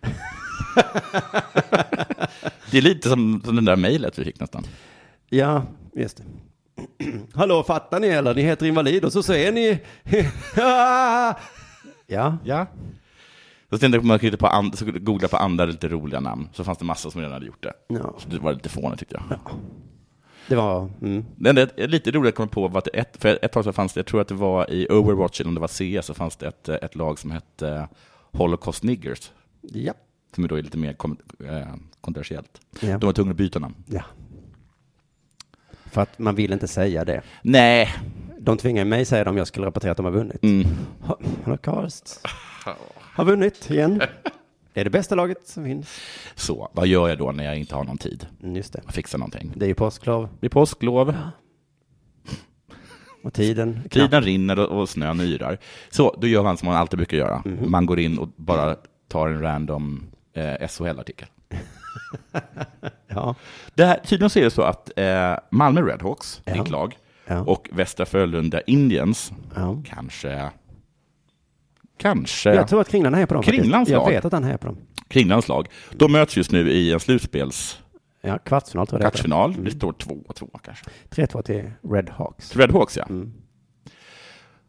Speaker 5: det är lite som, som den där mejlet vi fick nästan.
Speaker 4: Ja, just det. Hallå, fattar ni eller? Ni heter invalid och så säger ni... ja.
Speaker 5: Ja. Så tänkte jag att man kunde på and- så kunde jag googla på andra lite roliga namn, så fanns det massa som redan hade gjort det.
Speaker 4: Ja.
Speaker 5: Så det var lite fånigt tyckte jag.
Speaker 4: Det var... Mm.
Speaker 5: Det enda jag- lite roligt jag kom på var att ett, för ett tag så fanns det, jag tror att det var i Overwatch eller om det var CS, så fanns det ett, ett lag som hette Holocaust Niggers.
Speaker 4: Ja.
Speaker 5: som då är lite mer kom, eh, kontroversiellt.
Speaker 4: Ja.
Speaker 5: De var tvungna att byta namn.
Speaker 4: Ja. För att man vill inte säga det.
Speaker 5: Nej.
Speaker 4: De tvingar mig säga det om jag skulle rapportera att de har vunnit.
Speaker 5: Mm.
Speaker 4: Ha- Holocaust har vunnit igen. Det är det bästa laget som finns. Mm,
Speaker 5: Så, vad gör jag då när jag inte har någon tid?
Speaker 4: Just det.
Speaker 5: Fixa någonting.
Speaker 4: Det är ju påsklov
Speaker 5: Det är påsklov.
Speaker 4: och tiden. är
Speaker 5: Tiden
Speaker 4: knapp.
Speaker 5: rinner och och snön yrar. Så då gör man som man alltid brukar göra.
Speaker 4: Mhm.
Speaker 5: Man går in och bara tar en random eh, SHL-artikel.
Speaker 4: Ja.
Speaker 5: Det här, tydligen så är det så att eh, Malmö Redhawks,
Speaker 4: Ja.
Speaker 5: ditt lag,
Speaker 4: Ja.
Speaker 5: och Västra Frölunda Indians,
Speaker 4: Ja.
Speaker 5: kanske, kanske
Speaker 4: Jag tror att Kringlan är på dem. faktiskt.
Speaker 5: Kringlans
Speaker 4: Jag
Speaker 5: lag.
Speaker 4: vet att han är på dem.
Speaker 5: Kringlands lag, de möts just nu i en slutspels
Speaker 4: Ja, kvartsfinal tror jag det heter.
Speaker 5: kvartsfinal. Det står 2-2 kanske.
Speaker 4: 3-2 till Red Hawks.
Speaker 5: Redhawks, ja.
Speaker 4: Mm.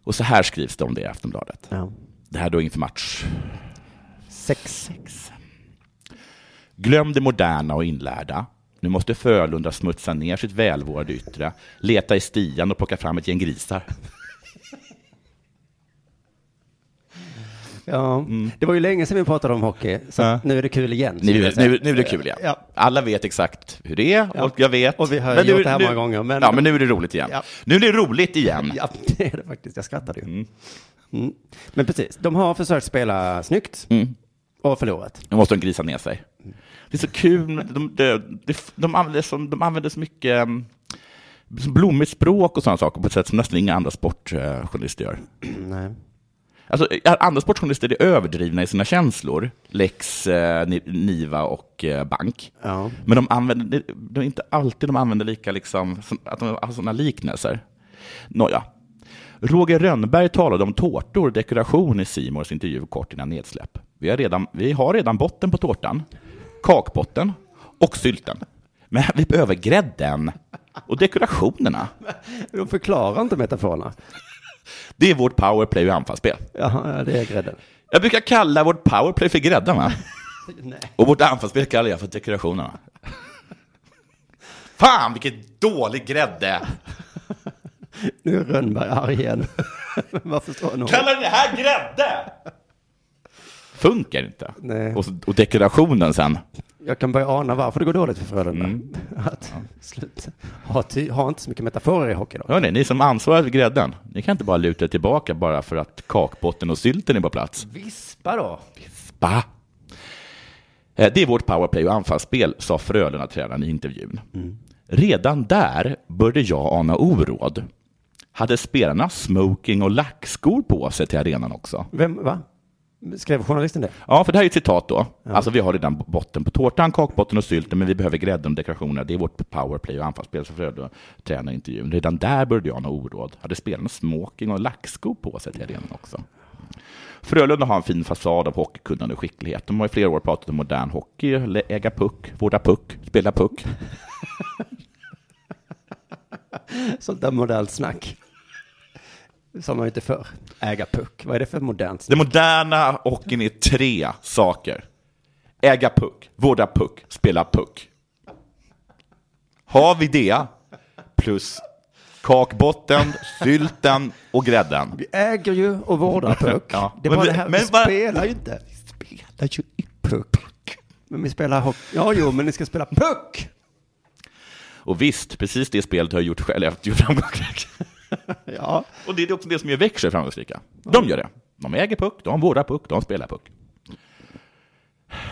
Speaker 5: Och så här skrivs det om det i Aftonbladet.
Speaker 4: Ja.
Speaker 5: Det här då inför match.
Speaker 4: Sex.
Speaker 5: Glöm det moderna och inlärda. Nu måste Frölunda smutsa ner sitt välvårdade yttre, leta i stian och plocka fram ett gäng grisar.
Speaker 4: Ja. Det var ju länge sedan vi pratade om hockey, så
Speaker 5: Mm. Ja.
Speaker 4: nu är det kul igen.
Speaker 5: Nu,
Speaker 4: skulle jag säga.
Speaker 5: nu, nu är det kul igen.
Speaker 4: Ja.
Speaker 5: Alla vet exakt hur det är,
Speaker 4: Ja.
Speaker 5: och jag vet.
Speaker 4: Och vi har
Speaker 5: nu-
Speaker 4: gjort det här
Speaker 5: nu,
Speaker 4: många gånger, men-
Speaker 5: Ja, men nu är det roligt igen.
Speaker 4: Ja.
Speaker 5: Nu är det roligt igen.
Speaker 4: Ja, det är det faktiskt. Jag skrattade ju. Mm. Men precis, de har försökt spela snyggt
Speaker 5: Mm.
Speaker 4: och förlorat.
Speaker 5: Nu måste de grisa ner sig. Det är så kul. De, de, de, de, använder, som, de använder så mycket mm, som blommigt språk och sådana saker på ett sätt som nästan inga andra sportjournalister gör.
Speaker 4: Nej.
Speaker 5: Alltså, eh, andra sportjournalister är överdrivna i sina känslor. Lex, eh, Ni- Niva och eh, Bank.
Speaker 4: Ja.
Speaker 5: Men de använder, det- det är inte alltid de använder lika, liksom, som- att de har sådana liknelser. Nåja. Roger Rönnberg talade om tårtor och dekoration i Simors intervju kort innan nedsläpp. Vi har redan, vi har redan botten på tårtan, kakbotten och sylten. Men vi behöver grädden och dekorationerna.
Speaker 4: De förklarar inte metaforerna.
Speaker 5: Det är vårt powerplay och anfallsspel.
Speaker 4: Jaha, ja, det är grädden.
Speaker 5: Jag brukar kalla vårt powerplay för gräddan, va? Och vårt anfallsspel kallar jag för dekorationerna. Fan, vilken dålig grädde!
Speaker 4: Nu är Rönnberg arg igen. Varför står han och-
Speaker 5: Kallar ni det här grädde? Funkar inte.
Speaker 4: Nej.
Speaker 5: Och, så- och dekorationen sen.
Speaker 4: Jag kan börja ana varför det går dåligt för Frölunda. Att, slut. Ha, ty, ha inte så mycket metaforer i hockey då.
Speaker 5: Hörrni, ni som ansvarar för grädden, ni kan inte bara luta er tillbaka bara för att kakbotten och sylten är på plats.
Speaker 4: Vispa då.
Speaker 5: Bah. Eh, Det är vårt powerplay och anfallsspel, sa Frölunda-tränaren i intervjun. Redan där började jag ana oråd. Hade spelarna smoking och lackskor på sig till arenan också?
Speaker 4: Vem, va? Skrev journalisten det?
Speaker 5: Ja, för det här är ett citat då. Alltså, vi har redan botten på tårtan, kakbotten och sylten, men vi behöver grädden och dekorationerna. Det är vårt powerplay och anfallsspel, sa Frölunda tränaren i intervjun. Redan där började jag ana oråd. Hade spelarna smoking och lackskor på sig till arenan också? Frölunda har en fin fasad av hockeykunnande och skicklighet. De har i flera år pratat om modern hockey, lä- äga puck, vårda puck, spela puck.
Speaker 4: Sånt där modernt snack. Som man ju inte för. Äga puck. Vad är det för modernt snack?
Speaker 5: Den moderna hockeyn är tre saker. Äga puck, vårda puck, spela puck. Har vi det, plus kakbotten, sylten och grädden.
Speaker 4: Vi äger ju och vårdar puck.
Speaker 5: Ja.
Speaker 4: Det är bara
Speaker 5: Men-
Speaker 4: det här,
Speaker 5: men
Speaker 4: vi
Speaker 5: vad-
Speaker 4: spelar ju inte. Vi spelar ju i puck. Men vi spelar hockey. Ja, jo, men ni ska spela puck.
Speaker 5: Och visst, precis det spelet har jag gjort själv, jag gjort framgångsrik.
Speaker 4: Ja,
Speaker 5: Och det är också det som gör Växjö framgångsrika. De gör det. De äger puck, de vårdar puck, de spelar puck.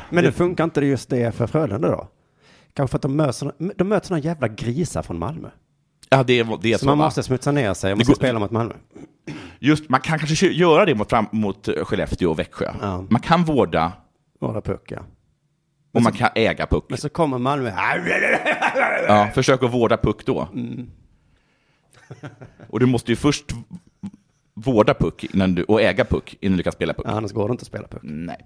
Speaker 4: men det funkar inte just det för Frölunda då? Kanske för att de möter, såna- de möter såna jävla grisar från Malmö.
Speaker 5: Ja, det är, det är
Speaker 4: Så man
Speaker 5: va?
Speaker 4: måste smutsa ner sig om
Speaker 5: Det
Speaker 4: man ska
Speaker 5: går-
Speaker 4: spela mot Malmö.
Speaker 5: Just, man kan kanske kö- göra det mot, fram, mot eh, Skellefteå och Växjö.
Speaker 4: Ja.
Speaker 5: Man kan vårda
Speaker 4: Våra puck, ja.
Speaker 5: och man kan äga puck.
Speaker 4: Men så kommer Malmö.
Speaker 5: Ja, försök att vårda puck då. Och du måste ju först vårda puck innan du, och äga puck innan du kan spela puck.
Speaker 4: Ja, annars går det inte att spela puck.
Speaker 5: Nej.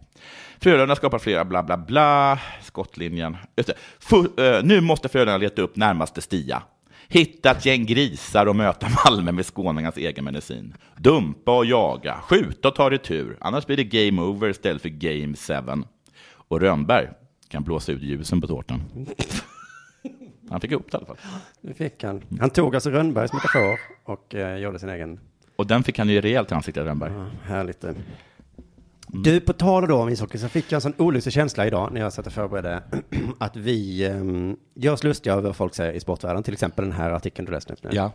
Speaker 5: Frölunda skapar flera bla bla bla, skottlinjen. Just det. Fu- eh, nu måste Frölunda leta upp närmaste stia. Hitta ett gäng grisar och möta Malmö med skåningarnas egen medicin. Dumpa och jaga, skjuta och ta retur, annars blir det game over istället för game seven. Och Rönnberg kan blåsa ut ljusen på tårtan. Han fick ihop det i alla fall.
Speaker 4: Nu fick han. Han tog alltså Rönnbergs metafor och eh, gjorde sin egen.
Speaker 5: Och den fick han ju rejält i ansiktet, Rönnberg.
Speaker 4: Ja, härligt. eh. Du, på tal då om ishockey så fick jag en sån olustig känsla idag när jag satt och förberedde att vi um, gör oss lustiga över vad folk säger i sportvärlden, till exempel den här artikeln du läste upp nu.
Speaker 5: Ja.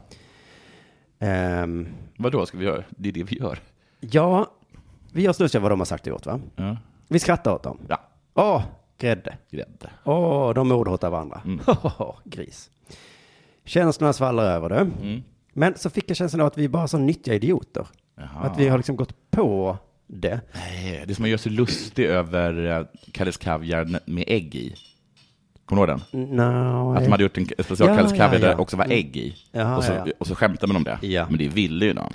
Speaker 4: Um,
Speaker 5: Vadå ska vi göra? Det är det vi gör.
Speaker 4: ja, vi gör oss lustiga över vad de har sagt i åt, va?
Speaker 5: Ja.
Speaker 4: Vi skrattar åt dem.
Speaker 5: Ja.
Speaker 4: Åh, grädde.
Speaker 5: Grädde.
Speaker 4: Åh, de mordhotar varandra.
Speaker 5: Mm.
Speaker 4: Gris. Känslorna svallar över det.
Speaker 5: Mm.
Speaker 4: Men så fick jag känslan av att vi är bara är så nyttiga idioter.
Speaker 5: Jaha.
Speaker 4: Att vi har liksom gått på det.
Speaker 5: Nej, Eh, det är som att göra sig lustig över eh, Kalles Kaviar n- med ägg i. Kommer du ihåg den?
Speaker 4: No,
Speaker 5: Att de hade gjort en special
Speaker 4: Mm. Ja,
Speaker 5: Kalles Kaviar
Speaker 4: ja, ja. Mm.
Speaker 5: där också var ägg i.
Speaker 4: Jaha,
Speaker 5: och, så,
Speaker 4: ja, ja.
Speaker 5: och så skämtade man om det.
Speaker 4: Ja.
Speaker 5: Men det ville ju de.
Speaker 4: Ja,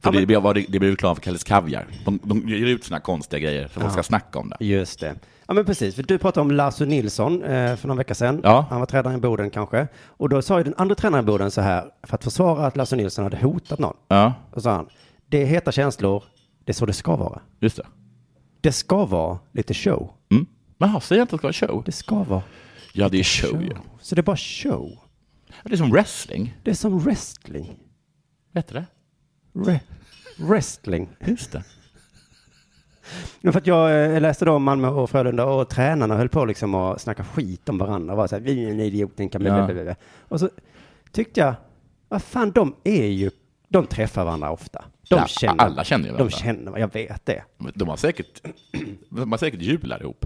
Speaker 5: För
Speaker 4: men-
Speaker 5: det, blev- var- det blev reklam för Kalles Kaviar. De, de ger ut såna här konstiga grejer för att folk
Speaker 4: Ja.
Speaker 5: ska snacka om det.
Speaker 4: Just det. Ja men precis, för du pratade om Lasse Nilsson eh, för någon vecka sedan.
Speaker 5: Ja.
Speaker 4: Han var tränare i Boden kanske. Och då sa ju den andra tränaren i Boden så här, för att försvara att Lasse Nilsson hade hotat någon.
Speaker 5: Ja,
Speaker 4: Då sa han, det är heta känslor, det är så det ska vara.
Speaker 5: just det.
Speaker 4: Det ska vara lite show.
Speaker 5: Mm. Jaha, säger jag inte att det ska vara show?
Speaker 4: Det ska vara.
Speaker 5: Oh, Ja, det är show ju.
Speaker 4: Så det är bara show.
Speaker 5: Ja, Det är som wrestling.
Speaker 4: Det är som wrestling.
Speaker 5: Vet du det?
Speaker 4: Re- wrestling.
Speaker 5: Just det.
Speaker 4: Men för att jag eh, läste då om Malmö och Frölunda och tränarna höll på liksom att snacka skit om varandra. Var så här, vi är en idiot, ni kan bli,
Speaker 5: Ja.
Speaker 4: bli, bli, bli. Och så tyckte jag, vad fan, de är ju, de träffar varandra ofta. De
Speaker 5: Ja,
Speaker 4: känner,
Speaker 5: alla känner ju
Speaker 4: De
Speaker 5: varandra.
Speaker 4: känner, jag vet det.
Speaker 5: De har säkert, de har säkert jublar ihop.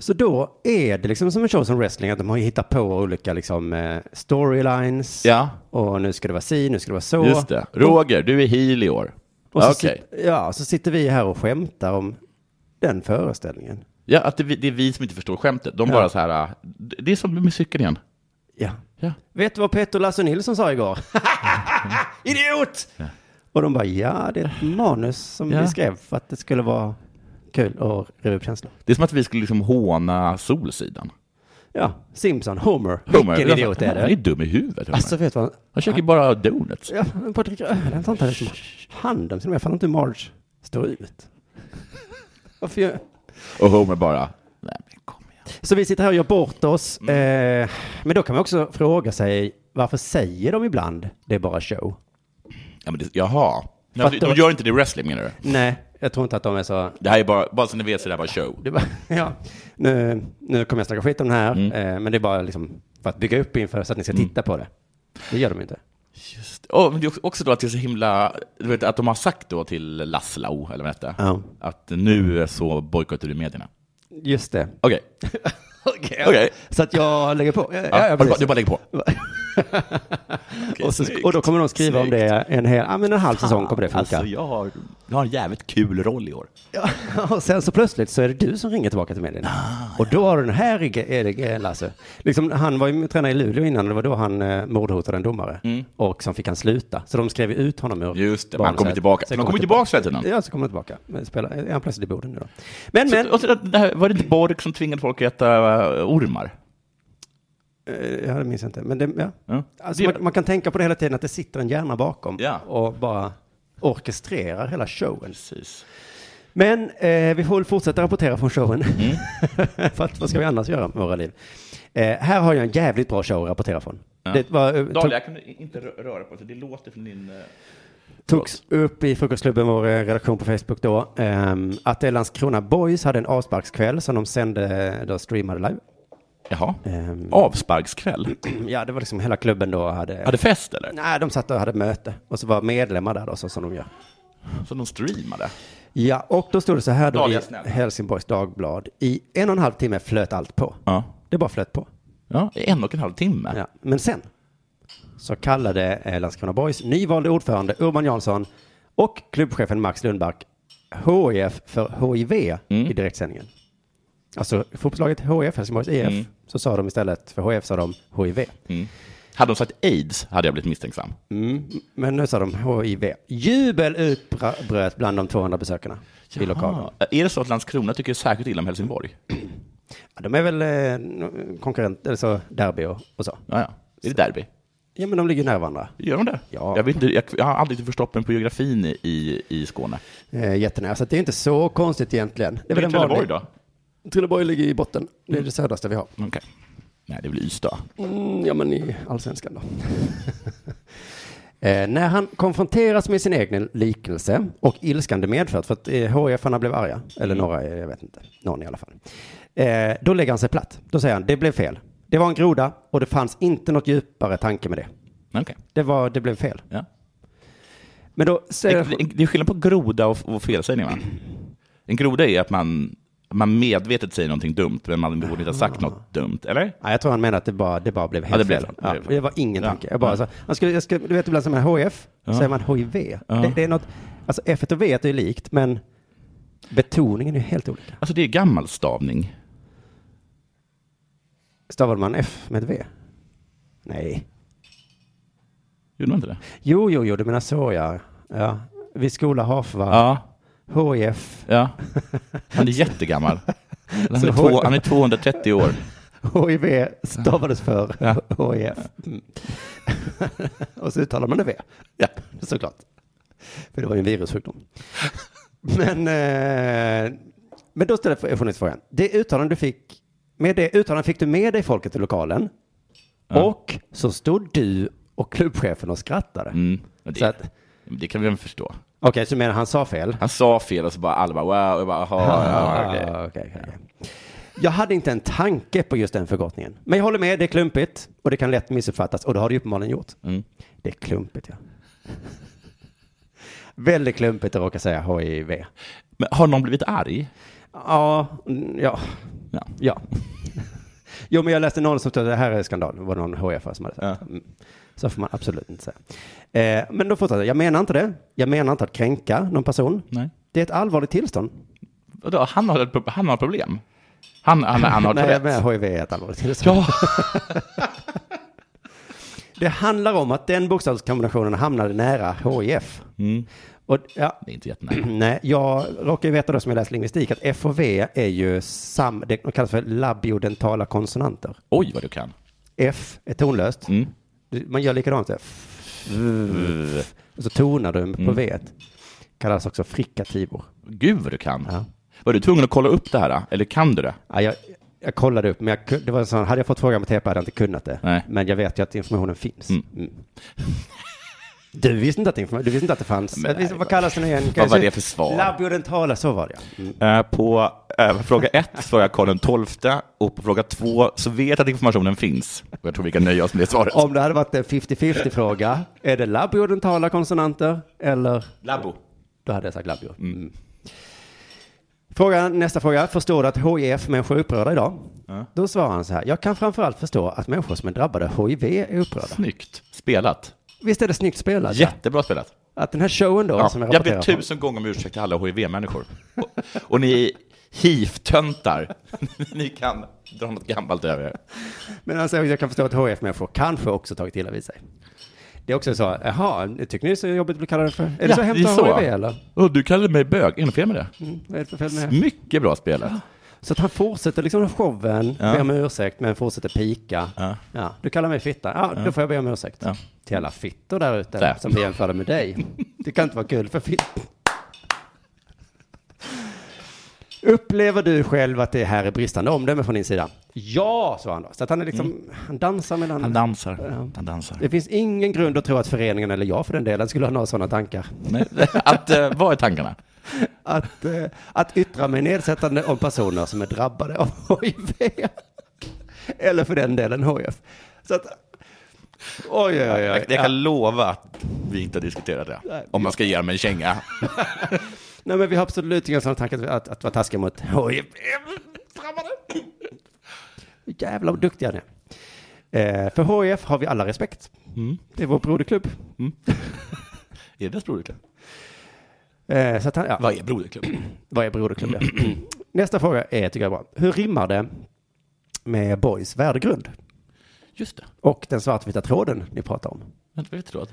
Speaker 4: Så då är det liksom som en show som wrestling, att de har ju hittat på olika liksom eh, storylines.
Speaker 5: Ja.
Speaker 4: Och nu ska det vara si, nu ska det vara så.
Speaker 5: Just det. Roger, du är heel i år.
Speaker 4: Och så,
Speaker 5: Okej.
Speaker 4: sit, ja, så sitter vi här och skämtar om den föreställningen.
Speaker 5: Ja, att det, vi- det är vi som inte förstår skämtet. De
Speaker 4: Ja.
Speaker 5: bara så här, äh, det det är som med cykeln igen.
Speaker 4: Ja.
Speaker 5: Ja.
Speaker 4: Vet du vad Petter och Lasse Nilsson sa igår? Idiot! Och de bara, ja, det är ett manus som
Speaker 5: Ja.
Speaker 4: vi skrev för att det skulle vara kul och riva upp känslor.
Speaker 5: Det är som att vi skulle liksom håna Solsidan.
Speaker 4: Ja, Simpson, Homer,
Speaker 5: Homer,
Speaker 4: vilken idiot är
Speaker 5: Han är
Speaker 4: det?
Speaker 5: dum i huvudet. Homer.
Speaker 4: Alltså, vet du vad?
Speaker 5: han käkar ju bara donuts.
Speaker 4: Ja, men bara dricker öl, han tar inte ens handen till och med. Jag fattar inte hur Marge står ut. Varför gör...
Speaker 5: Och Homer bara, nej men kom igen.
Speaker 4: Så vi sitter här och gör bort oss.
Speaker 5: Mm.
Speaker 4: Eh, men då kan man också fråga sig, varför säger de ibland det är bara show?
Speaker 5: Ja, men det, jaha.
Speaker 4: Fattar
Speaker 5: Nej, de
Speaker 4: du?
Speaker 5: gör inte det i wrestling menar du?
Speaker 4: Nej, jag tror inte att de är så...
Speaker 5: Det här är bara, bara så ni vet så det här var show.
Speaker 4: Det var, ja. nu, nu kommer jag snacka skit om den här,
Speaker 5: Mm.
Speaker 4: eh, men det är bara liksom för att bygga upp inför så att ni ska titta på det. Det gör de inte.
Speaker 5: Just det. Och, men det är också då att det är så himla, du vet att de har sagt då till Laszlo, eller vad det hette,
Speaker 4: Ja.
Speaker 5: att nu så bojkottar du medierna.
Speaker 4: Just det.
Speaker 5: Okej,
Speaker 4: Okej.
Speaker 5: Okej.
Speaker 4: Så att jag lägger på. Ja,
Speaker 5: ja,
Speaker 4: ja,
Speaker 5: du, bara,
Speaker 4: precis.
Speaker 5: du bara lägger på. Okej,
Speaker 4: och, så,
Speaker 5: snyggt.
Speaker 4: och då kommer de skriva om det en hel, ja, men en halv säsong kommer det funka.
Speaker 5: Alltså jag har, jag har en jävligt kul roll i år.
Speaker 4: Ja, och sen så plötsligt så är det du som ringer tillbaka till medierna.
Speaker 5: Ah,
Speaker 4: och då har du den här i- är det- eh, Lasse. Liksom, han var ju tränare i Luleå innan, det var då han eh, mordhotade en domare. Och som fick han sluta. Så de skrev ju ut honom ur
Speaker 5: Mm. Just det, men
Speaker 4: banan
Speaker 5: han kommer
Speaker 4: så-
Speaker 5: tillbaka.
Speaker 4: sen
Speaker 5: Men han kommer tillbaka hela tiden.
Speaker 4: Ja, så kommer han tillbaka. Men spelar, är han plötsligt i Boden nu då? Men, men,
Speaker 5: Men, och så, det här, var det inte Borg som tvingade folk att äta eh, ormar?
Speaker 4: eh, ja, det minns jag inte. Men det, ja.
Speaker 5: Ja.
Speaker 4: Alltså,
Speaker 5: Det-
Speaker 4: man, man kan tänka på det hela tiden, att det sitter en hjärna bakom.
Speaker 5: Ja.
Speaker 4: Och bara orkestrerar hela showen.
Speaker 5: Precis.
Speaker 4: Men eh, vi får väl fortsätta rapportera från showen.
Speaker 5: Mm.
Speaker 4: För att, vad ska vi annars göra med våra liv? Eh, här har jag en jävligt bra show att rapportera från.
Speaker 5: Ja.
Speaker 4: Det var, eh,
Speaker 5: Dahlia,
Speaker 4: to-
Speaker 5: jag kunde inte rö- röra på det. Det låter från din... eh,
Speaker 4: togs upp i Frukostklubben, vår eh, redaktion på Facebook då, ehm, att det Landskrona Boys hade en avsparkskväll som de sände, eh, då streamade live.
Speaker 5: Jaha.
Speaker 4: Ehm,
Speaker 5: Avsparkskväll?
Speaker 4: Ja, det var liksom hela klubben då hade...
Speaker 5: Hade fest eller?
Speaker 4: Nej, de satt och hade möte och så var medlemmar där då, så som de gör.
Speaker 5: Så de streamade?
Speaker 4: Ja, och då stod det så här då
Speaker 5: Dahlia,
Speaker 4: i
Speaker 5: snälla.
Speaker 4: Helsingborgs Dagblad. I en och en halv timme flöt allt på.
Speaker 5: Ja.
Speaker 4: Det bara flöt på.
Speaker 5: ja. i En och en halv timme?
Speaker 4: Ja, men sen så kallade eh, Landskrona Boys nyvalde ordförande Urban Jansson och klubbchefen Max Lundback HIF för HIV
Speaker 5: Mm.
Speaker 4: i direktsändningen. Alltså fotbollslaget HIF, Helsingborgs IF,
Speaker 5: Mm.
Speaker 4: så sa de istället för HIF sa de HIV.
Speaker 5: Hade de sagt aids hade jag blivit misstänksam.
Speaker 4: Men nu sa de HIV. Jubel utbröt bland de 200 besökarna i lokalen.
Speaker 5: Ah. Är det så att Landskrona tycker särskilt illa om Helsingborg?
Speaker 4: Ja, de är väl eh, konkurrent, eller så derby och, och så.
Speaker 5: Ja, ja. Är det derby?
Speaker 4: Ja, men de ligger nära varandra.
Speaker 5: Gör de det?
Speaker 4: Ja.
Speaker 5: Jag, vet inte, jag, jag har aldrig förstått mig på geografin i- i, i Skåne.
Speaker 4: Eh, jättenära, så att det är inte så konstigt egentligen. Det är väl en
Speaker 5: Trelleborg
Speaker 4: vanlig-
Speaker 5: då?
Speaker 4: Trelleborg ligger i botten. Det är det södraste vi har.
Speaker 5: Okej. Nej, det är väl Ystad.
Speaker 4: Mm, ja, men i allsvenskan då. Eh, när han konfronteras med sin egen liknelse och ilskan det medfört, för att eh, HIF-arna blev arga, eller några, eh, jag vet inte, någon i alla fall. Eh, då lägger han sig platt. Då säger han, det blev fel. Det var en groda och det fanns inte något djupare tanke med det.
Speaker 5: Okay.
Speaker 4: Det, var, det blev fel.
Speaker 5: Ja.
Speaker 4: Men då säger...
Speaker 5: Det, det är skillnad på groda och, och felsägning, va? En groda är att man, man medvetet säger någonting dumt, men man borde inte ha sagt något dumt, eller?
Speaker 4: Nej, jag tror han menar att det bara, det bara blev helt
Speaker 5: det blev
Speaker 4: fel.
Speaker 5: det. Det
Speaker 4: ja,
Speaker 5: blev det.
Speaker 4: det var ingen
Speaker 5: Ja.
Speaker 4: tanke. Jag bara,
Speaker 5: Ja.
Speaker 4: så, man skulle, jag skulle, du vet ibland säger man HF,
Speaker 5: Ja.
Speaker 4: säger man HIV.
Speaker 5: Ja.
Speaker 4: Det, det är något, alltså F och V är ju likt, men betoningen är ju helt olika.
Speaker 5: Alltså det är gammal stavning.
Speaker 4: Stavade man F med ett V? Nej.
Speaker 5: Gjorde man inte det?
Speaker 4: Jo, jo, jo, du menar så ja. ja. Vi skola Hafva.
Speaker 5: Ja.
Speaker 4: HIF.
Speaker 5: Ja. Han är jättegammal. Han
Speaker 4: Så
Speaker 5: är, två, han är 230 år.
Speaker 4: HIV stavades för HIF. Mm. Och så uttalar man det V.
Speaker 5: Ja.
Speaker 4: Såklart. För det var ju en virussjukdom. men, eh, men då ställer jag funnits frågan. Det uttalande du fick, med det uttalandet fick du med dig folket i lokalen.
Speaker 5: Ja.
Speaker 4: Och så stod du och klubbchefen och skrattade.
Speaker 5: Mm. Men
Speaker 4: Så
Speaker 5: Det,
Speaker 4: att-
Speaker 5: det kan vi väl förstå.
Speaker 4: Okej, så du menar han sa fel?
Speaker 5: Han sa fel och så bara alla bara wow. Jag bara, aha, ja, okej.
Speaker 4: Ah, okej, okej, okej. Jag hade inte en tanke på just den förkortningen. Men jag håller med, det är klumpigt och det kan lätt missuppfattas och det har det ju uppenbarligen gjort.
Speaker 5: Mm.
Speaker 4: Det är klumpigt ja. Väldigt klumpigt att råka säga HIV.
Speaker 5: Men har någon blivit arg?
Speaker 4: Ja, mm, ja,
Speaker 5: Ja.
Speaker 4: ja. Jo, men jag läste någon som sa det här är skandal. Det var någon hf som hade sagt.
Speaker 5: Ja.
Speaker 4: Mm. Så får man absolut inte säga. Eh, men då fortsätter jag. Jag menar inte det. Jag menar inte att kränka någon person.
Speaker 5: Nej.
Speaker 4: Det är ett allvarligt tillstånd.
Speaker 5: Vadå, han har, ett pro- han har problem? Han, han, han har
Speaker 4: Nej,
Speaker 5: rätt.
Speaker 4: men HIV är ett allvarligt tillstånd.
Speaker 5: Ja,
Speaker 4: Det handlar om att den bokstavskombinationen hamnade nära HIF. Och, ja,
Speaker 5: det är inte jättenära.
Speaker 4: nej, jag råkar ju veta då som jag läst lingvistik att F och V är ju sam, det de kallas för labiodentala konsonanter.
Speaker 5: Oj, vad du kan.
Speaker 4: F är tonlöst.
Speaker 5: Mm.
Speaker 4: Man gör likadant. Så här, f- Och så tonar du på V. Kallas också frikativor.
Speaker 5: Gud, vad du kan.
Speaker 4: Ja.
Speaker 5: Var du tvungen att kolla upp det här? Eller kan du det?
Speaker 4: Ja, jag, jag kollade upp, men jag, kun- det var en sån, hade jag fått frågan på TP hade jag inte kunnat det.
Speaker 5: Nej.
Speaker 4: Men jag vet ju att informationen finns.
Speaker 5: Mm.
Speaker 4: Mm. Du visste inte att, informa- du visste inte att det fanns.
Speaker 5: Men
Speaker 4: Visste-
Speaker 5: nej,
Speaker 4: vad kallas den igen?
Speaker 5: vad var det för svar?
Speaker 4: Labiodentala, så var det ja. Mm.
Speaker 5: Eh, På eh, fråga ett svarar jag Karl den tolfte och på fråga två så vet jag att informationen finns. Och jag tror vi kan nöja oss med det svaret.
Speaker 4: Om det hade varit en 50-50 fråga, är det labiodentala konsonanter eller?
Speaker 5: Labo.
Speaker 4: Då hade jag sagt labio. Mm. Fråga, nästa fråga, förstår du att HIF människor är upprörda idag? Då svarar han så här, jag kan framförallt förstå att människor som är drabbade av HIV är upprörda.
Speaker 5: Snyggt spelat.
Speaker 4: Visst är det snyggt spelat?
Speaker 5: Jättebra spelat.
Speaker 4: Att den här showen då,
Speaker 5: Ja,
Speaker 4: som jag
Speaker 5: jag ber
Speaker 4: rapporterar från-
Speaker 5: tusen gånger om ursäkt till alla HIV-människor. Och, och ni HIF-töntar, ni kan dra något gammalt över er.
Speaker 4: Men alltså, jag kan förstå att HF-människor kanske också tagit illa vid sig. Det är också så, jaha, tycker ni det är så jobbigt att bli kallade för? Är det så hemskt att ha HIV eller? Mm,
Speaker 5: Och du kallade mig bög, är det något fel med det?
Speaker 4: Vad är det för fel med det?
Speaker 5: Mycket bra spelat.
Speaker 4: Så att han fortsätter liksom showen,
Speaker 5: Ja.
Speaker 4: ber om ursäkt, men fortsätter pika.
Speaker 5: Ja.
Speaker 4: du kallar mig fitta, ja, då får jag be om ursäkt.
Speaker 5: Ja.
Speaker 4: Till alla fittor där ute
Speaker 5: Där.
Speaker 4: som blir jämförda med dig. Det kan inte vara kul för fitt. Upplever du själv att det här är bristande omdöme från din sida? Ja, sa han då. Så att han är liksom, han dansar mellan...
Speaker 5: Mm. Han dansar.
Speaker 4: Ja.
Speaker 5: Han dansar.
Speaker 4: Det finns ingen grund att tro att föreningen, eller jag för den delen, skulle ha några sådana tankar.
Speaker 5: Nej, att, eh, vad är tankarna?
Speaker 4: Att, eh, att yttra mig nedsättande om personer som är drabbade av HIV. Eller för den delen HIF. Så att, oj, oj, oj.
Speaker 5: Jag,
Speaker 4: oj.
Speaker 5: jag kan lova att vi inte har diskuterat det. Om man ska ge mig en känga.
Speaker 4: Nej, men vi har absolut inga sådana tankar att, att, att vara taskiga mot HIV. Jävlar vad duktiga ni är. Eh, för HIF har vi alla respekt.
Speaker 5: Mm.
Speaker 4: Det är vår broderklubb.
Speaker 5: Är det deras broderklubb?
Speaker 4: Eh, så att han, ja.
Speaker 5: Vad är broderklubb?
Speaker 4: Vad är broderklubb? ja. Mm. Nästa fråga är, tycker jag är bra. Hur rimmar det med Borgs värdegrund?
Speaker 5: Just det.
Speaker 4: Och den svartvita tråden ni pratar om.
Speaker 5: Vänta, vad heter det?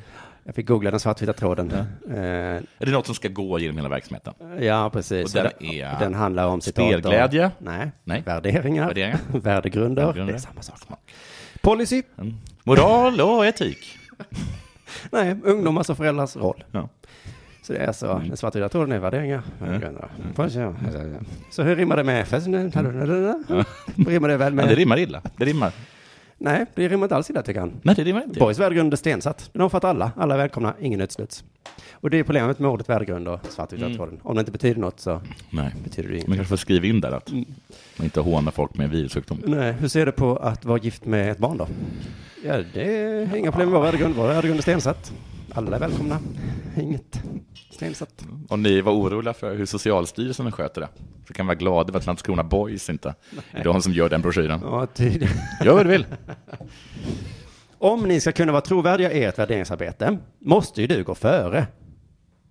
Speaker 4: Jag fick googla den svartvita tråden. Eh,
Speaker 5: Är det något som ska gå genom hela verksamheten?
Speaker 4: ja, precis.
Speaker 5: Och den
Speaker 4: den,
Speaker 5: är-
Speaker 4: den handlar om citat.
Speaker 5: Spelglädje?
Speaker 4: Och, nej,
Speaker 5: Nej.
Speaker 4: värderingar.
Speaker 5: Värderingar.
Speaker 4: Värdegrunder.
Speaker 5: Värdegrunder.
Speaker 4: Det är samma sak. Policy.
Speaker 5: Mm. Moral och etik.
Speaker 4: Nej, ungdomars och föräldrars roll.
Speaker 5: Ja. Mm.
Speaker 4: Så det är så. Den svartvita tråden är värderingar. värdegrunder. Policy. Så hur rimmar det med... Hur rimmar det väl
Speaker 5: Men Mm. det
Speaker 4: med...
Speaker 5: rimmar illa. Det rimmar.
Speaker 4: Nej, det rimmar inte alls illa tycker han.
Speaker 5: Nej, det rimmar inte.
Speaker 4: Borgs värdegrund är stensatt. Den omfattar alla. Alla är välkomna, ingen utesluts. Och det är problemet med ordet värdegrund och svartvita
Speaker 5: Mm.
Speaker 4: tråden. Om det inte betyder något så
Speaker 5: Nej.
Speaker 4: betyder Mm. det inget.
Speaker 5: Man kanske får skriva in där att man inte hånar folk med virussjukdom.
Speaker 4: Nej, hur ser du på att vara gift med ett barn då? Ja, det är inga problem med vår värdegrund. Vår värdegrund är stensatt. Alla är välkomna. Inget stensatt.
Speaker 5: Om ni var oroliga för hur Socialstyrelsen sköter det, så kan ni vara glada över att Landskrona Boys inte är de som gör den broschyren.
Speaker 4: Ja, tydligen.
Speaker 5: Gör vad du vill.
Speaker 4: Om ni ska kunna vara trovärdiga i ert värderingsarbete måste ju du gå före.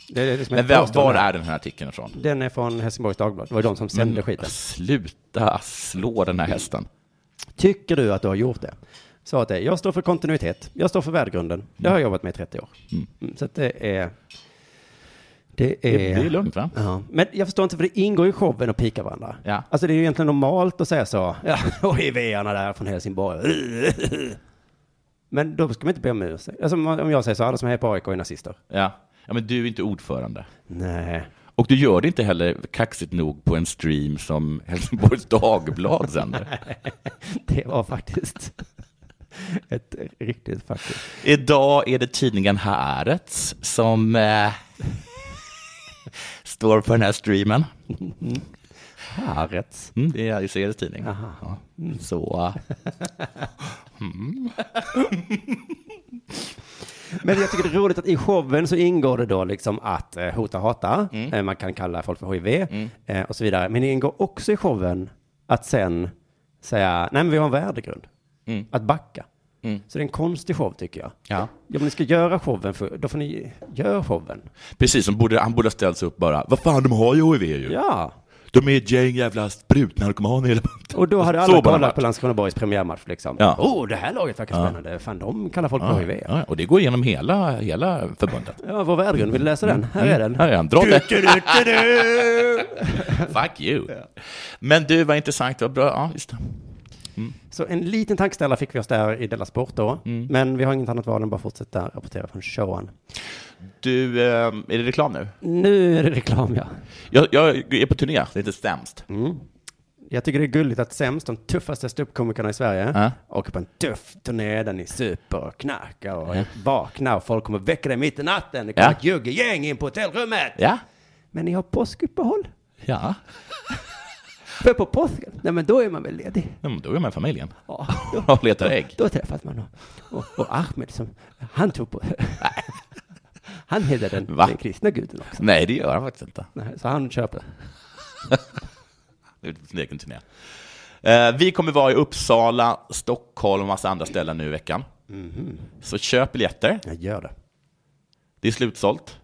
Speaker 4: Det är det som är
Speaker 5: Men var, var
Speaker 4: påstående.
Speaker 5: är den här artikeln ifrån?
Speaker 4: Den är från Helsingborgs Dagblad. Det var ju de som sände
Speaker 5: Men
Speaker 4: skiten.
Speaker 5: Sluta slå den här hästen.
Speaker 4: Tycker du att du har gjort det? Så att det, jag står för kontinuitet. Jag står för värdegrunden. Det har jag jobbat med i 30 år.
Speaker 5: Mm.
Speaker 4: Mm, Så att det är... Det är...
Speaker 5: Det är lugnt, va?
Speaker 4: Ja. Men jag förstår inte, för det ingår ju i showen att pika varandra.
Speaker 5: Ja.
Speaker 4: Alltså det är ju egentligen normalt att säga så. Ja, och IVarna där från Helsingborg. Men då ska man inte be om ursäkt. Alltså om om jag säger så, alla som är på AIK är nazister.
Speaker 5: Ja. ja, men du är inte ordförande.
Speaker 4: Nej.
Speaker 5: Och du gör det inte heller kaxigt nog på en stream som Helsingborgs Dagblad sänder.
Speaker 4: Det var faktiskt ett riktigt faktum.
Speaker 5: Idag är det tidningen Haaretz som eh, står för den här streamen.
Speaker 4: Haaretz?
Speaker 5: Mm, det är Israels tidning. Ja. Så...
Speaker 4: Men jag tycker det är roligt att i showen så ingår det då liksom att eh, hota och hata.
Speaker 5: Mm.
Speaker 4: Eh, man kan kalla folk för HIV eh, och så vidare. Men det ingår också i showen att sen säga, nej men vi har en värdegrund.
Speaker 5: Mm.
Speaker 4: Att backa.
Speaker 5: Mm.
Speaker 4: Så det är en konstig show tycker jag.
Speaker 5: Ja.
Speaker 4: Ja, om ni ska göra showen, för, då får ni göra showen.
Speaker 5: Precis, som borde, han borde ha ställt sig upp bara. Vad fan, de har ju HIV ju.
Speaker 4: Ja.
Speaker 5: De är ett gäng jävla sprutnarkomaner hela bunten."
Speaker 4: Och då hade
Speaker 5: Så
Speaker 4: alla
Speaker 5: bara
Speaker 4: kollat
Speaker 5: varit.
Speaker 4: på Landskrona Borgs premiärmatch liksom.
Speaker 5: Ja.
Speaker 4: Oh, det här laget verkar spännande. Fan, de kallar folk för
Speaker 5: Ja,
Speaker 4: HIV.
Speaker 5: ja, och det går igenom hela, hela förbundet.
Speaker 4: Ja, vår värdegrund, vill du läsa den? Här är den.
Speaker 5: Mm. Här är han, dra det. Fuck you. Men du, vad intressant, vad bra. Ja, just det.
Speaker 4: Så en liten tankeställare fick vi oss där i Della Sport då.
Speaker 5: Mm.
Speaker 4: Men vi har inget annat val än bara fortsätta rapportera från showen.
Speaker 5: Du, eh, är det reklam nu?
Speaker 4: Nu är det reklam, ja.
Speaker 5: Jag, jag är på turné, det är inte sämst.
Speaker 4: Jag tycker det är gulligt att sämst, de tuffaste ståuppkomikerna i Sverige,
Speaker 5: Ja.
Speaker 4: åker på en tuff turné där ni super och knarkar och vaknar och folk kommer väcka dig mitt i natten. Det kommer
Speaker 5: Ja.
Speaker 4: ett juggegäng in på hotellrummet.
Speaker 5: Ja.
Speaker 4: Men ni har påskuppehåll.
Speaker 5: Ja.
Speaker 4: För på påsken, nej men då är man väl ledig.
Speaker 5: ja men då är man i familjen.
Speaker 4: Ja,
Speaker 5: Och letar ägg.
Speaker 4: Då träffas man. Och, och, och Ahmed, som, han tog på... han hedrar den,
Speaker 5: Va?
Speaker 4: den kristna guden också.
Speaker 5: Nej, det gör han faktiskt inte.
Speaker 4: Nej, så han köper.
Speaker 5: Det är sin egen turné. Eh, vi kommer vara i Uppsala, Stockholm och massa andra ställen nu i veckan. Så köp biljetter.
Speaker 4: Jag gör det.
Speaker 5: Det är slutsålt.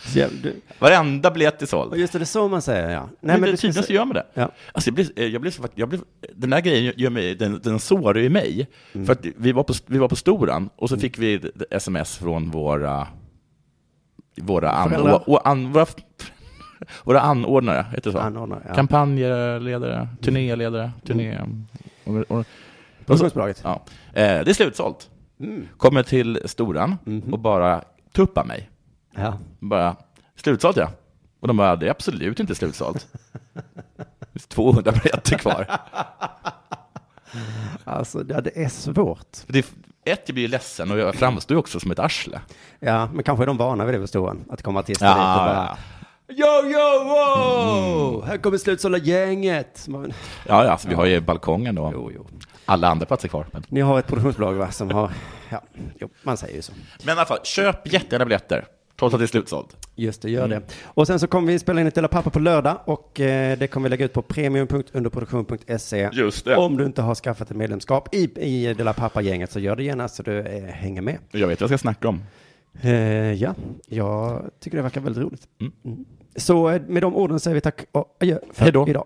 Speaker 4: Så jag, du,
Speaker 5: Varenda biljett är såld.
Speaker 4: och just det, det är så man säger ja.
Speaker 5: Nej, men
Speaker 4: du
Speaker 5: det
Speaker 4: ska
Speaker 5: tydligen så
Speaker 4: se-
Speaker 5: gör man det.
Speaker 4: Ja.
Speaker 5: Alltså, jag blir, eh, jag blir, så fakt- jag blir, den där grejen gör mig, den, den sårar ju mig.
Speaker 4: Mm.
Speaker 5: För att vi var, på, vi var på Storan och så fick vi ett sms från våra, våra, an,
Speaker 4: Föräldrar.
Speaker 5: och, och an, våra, våra anordnare, heter det så?
Speaker 4: Anordnare, ja. Mm.
Speaker 5: Kampanjledare, turnéledare, turné... Och, och,
Speaker 4: Produktionsbolaget.
Speaker 5: ja. eh, det är slutsålt.
Speaker 4: Mm.
Speaker 5: Kommer till Storan
Speaker 4: Mm-hmm.
Speaker 5: och bara tuppar mig.
Speaker 4: Ja.
Speaker 5: Bara, slutsålt ja. Och de bara, det är absolut inte slutsålt. Det är 200 biljetter kvar.
Speaker 4: Alltså, ja, det är svårt.
Speaker 5: Det är, ett, jag blir ju ledsen och jag framstår ju också som ett arsle.
Speaker 4: Ja, men kanske är de vana vid det på Storan, att komma artister
Speaker 5: Ja, Mm,
Speaker 4: dit och bara... Yo, yo, wow! Här kommer slutsålda gänget! Man-
Speaker 5: Ja, ja, alltså, vi har ju balkongen då.
Speaker 4: Jo, jo.
Speaker 5: Alla andra platser kvar. Men,
Speaker 4: Ni har ett produktionsbolag va, som har... Ja, jo, man säger ju så.
Speaker 5: men i alla fall, köp jättegärna biljetter, trots att det är slutsålt.
Speaker 4: Just det, gör det. Mm. Och sen så kommer vi spela in ett Della Pappa på lördag och eh, det kommer vi lägga ut på premium.underproduktion.se.
Speaker 5: Just det.
Speaker 4: Om du inte har skaffat ett medlemskap i, i Della Pappa-gänget så gör det gärna så du eh, hänger med.
Speaker 5: Jag vet vad jag ska snacka om.
Speaker 4: Eh, ja, jag tycker det verkar väldigt roligt. Mm. Så eh, med de orden säger vi tack och adjö för
Speaker 5: Hej då.
Speaker 4: idag.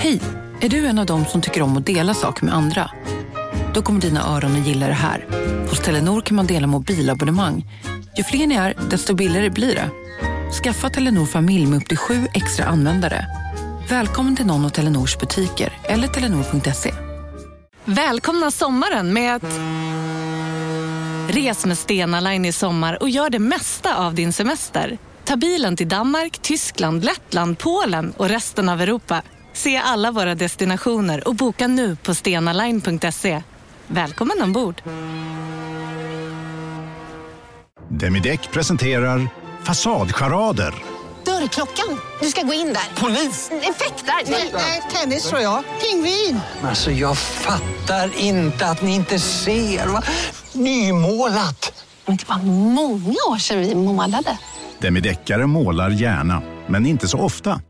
Speaker 9: Hej! Är du en av dem som tycker om att dela saker med andra? Då kommer dina öron att gilla det här. Hos Telenor kan man dela mobilabonnemang. Ju fler ni är, desto billigare blir det. Skaffa Telenor familj med upp till sju extra användare. Välkommen till någon av Telenors butiker eller telenor.se.
Speaker 10: Välkomna sommaren med att... Res med Stena Line i sommar och gör det mesta av din semester.
Speaker 11: Ta bilen till Danmark, Tyskland, Lettland, Polen och resten av Europa. Se alla våra destinationer och boka nu på stenaline.se. Välkommen ombord!
Speaker 7: Demideck presenterar Fasadcharader.
Speaker 12: Dörrklockan. Du ska gå in där. Polis? Effektar? Nej, tennis tror jag. Pingvin.
Speaker 1: Alltså jag fattar inte att ni inte ser. Va? Nymålat.
Speaker 13: Men det var många år sedan vi målade.
Speaker 7: Demideckare målar gärna, men inte så ofta.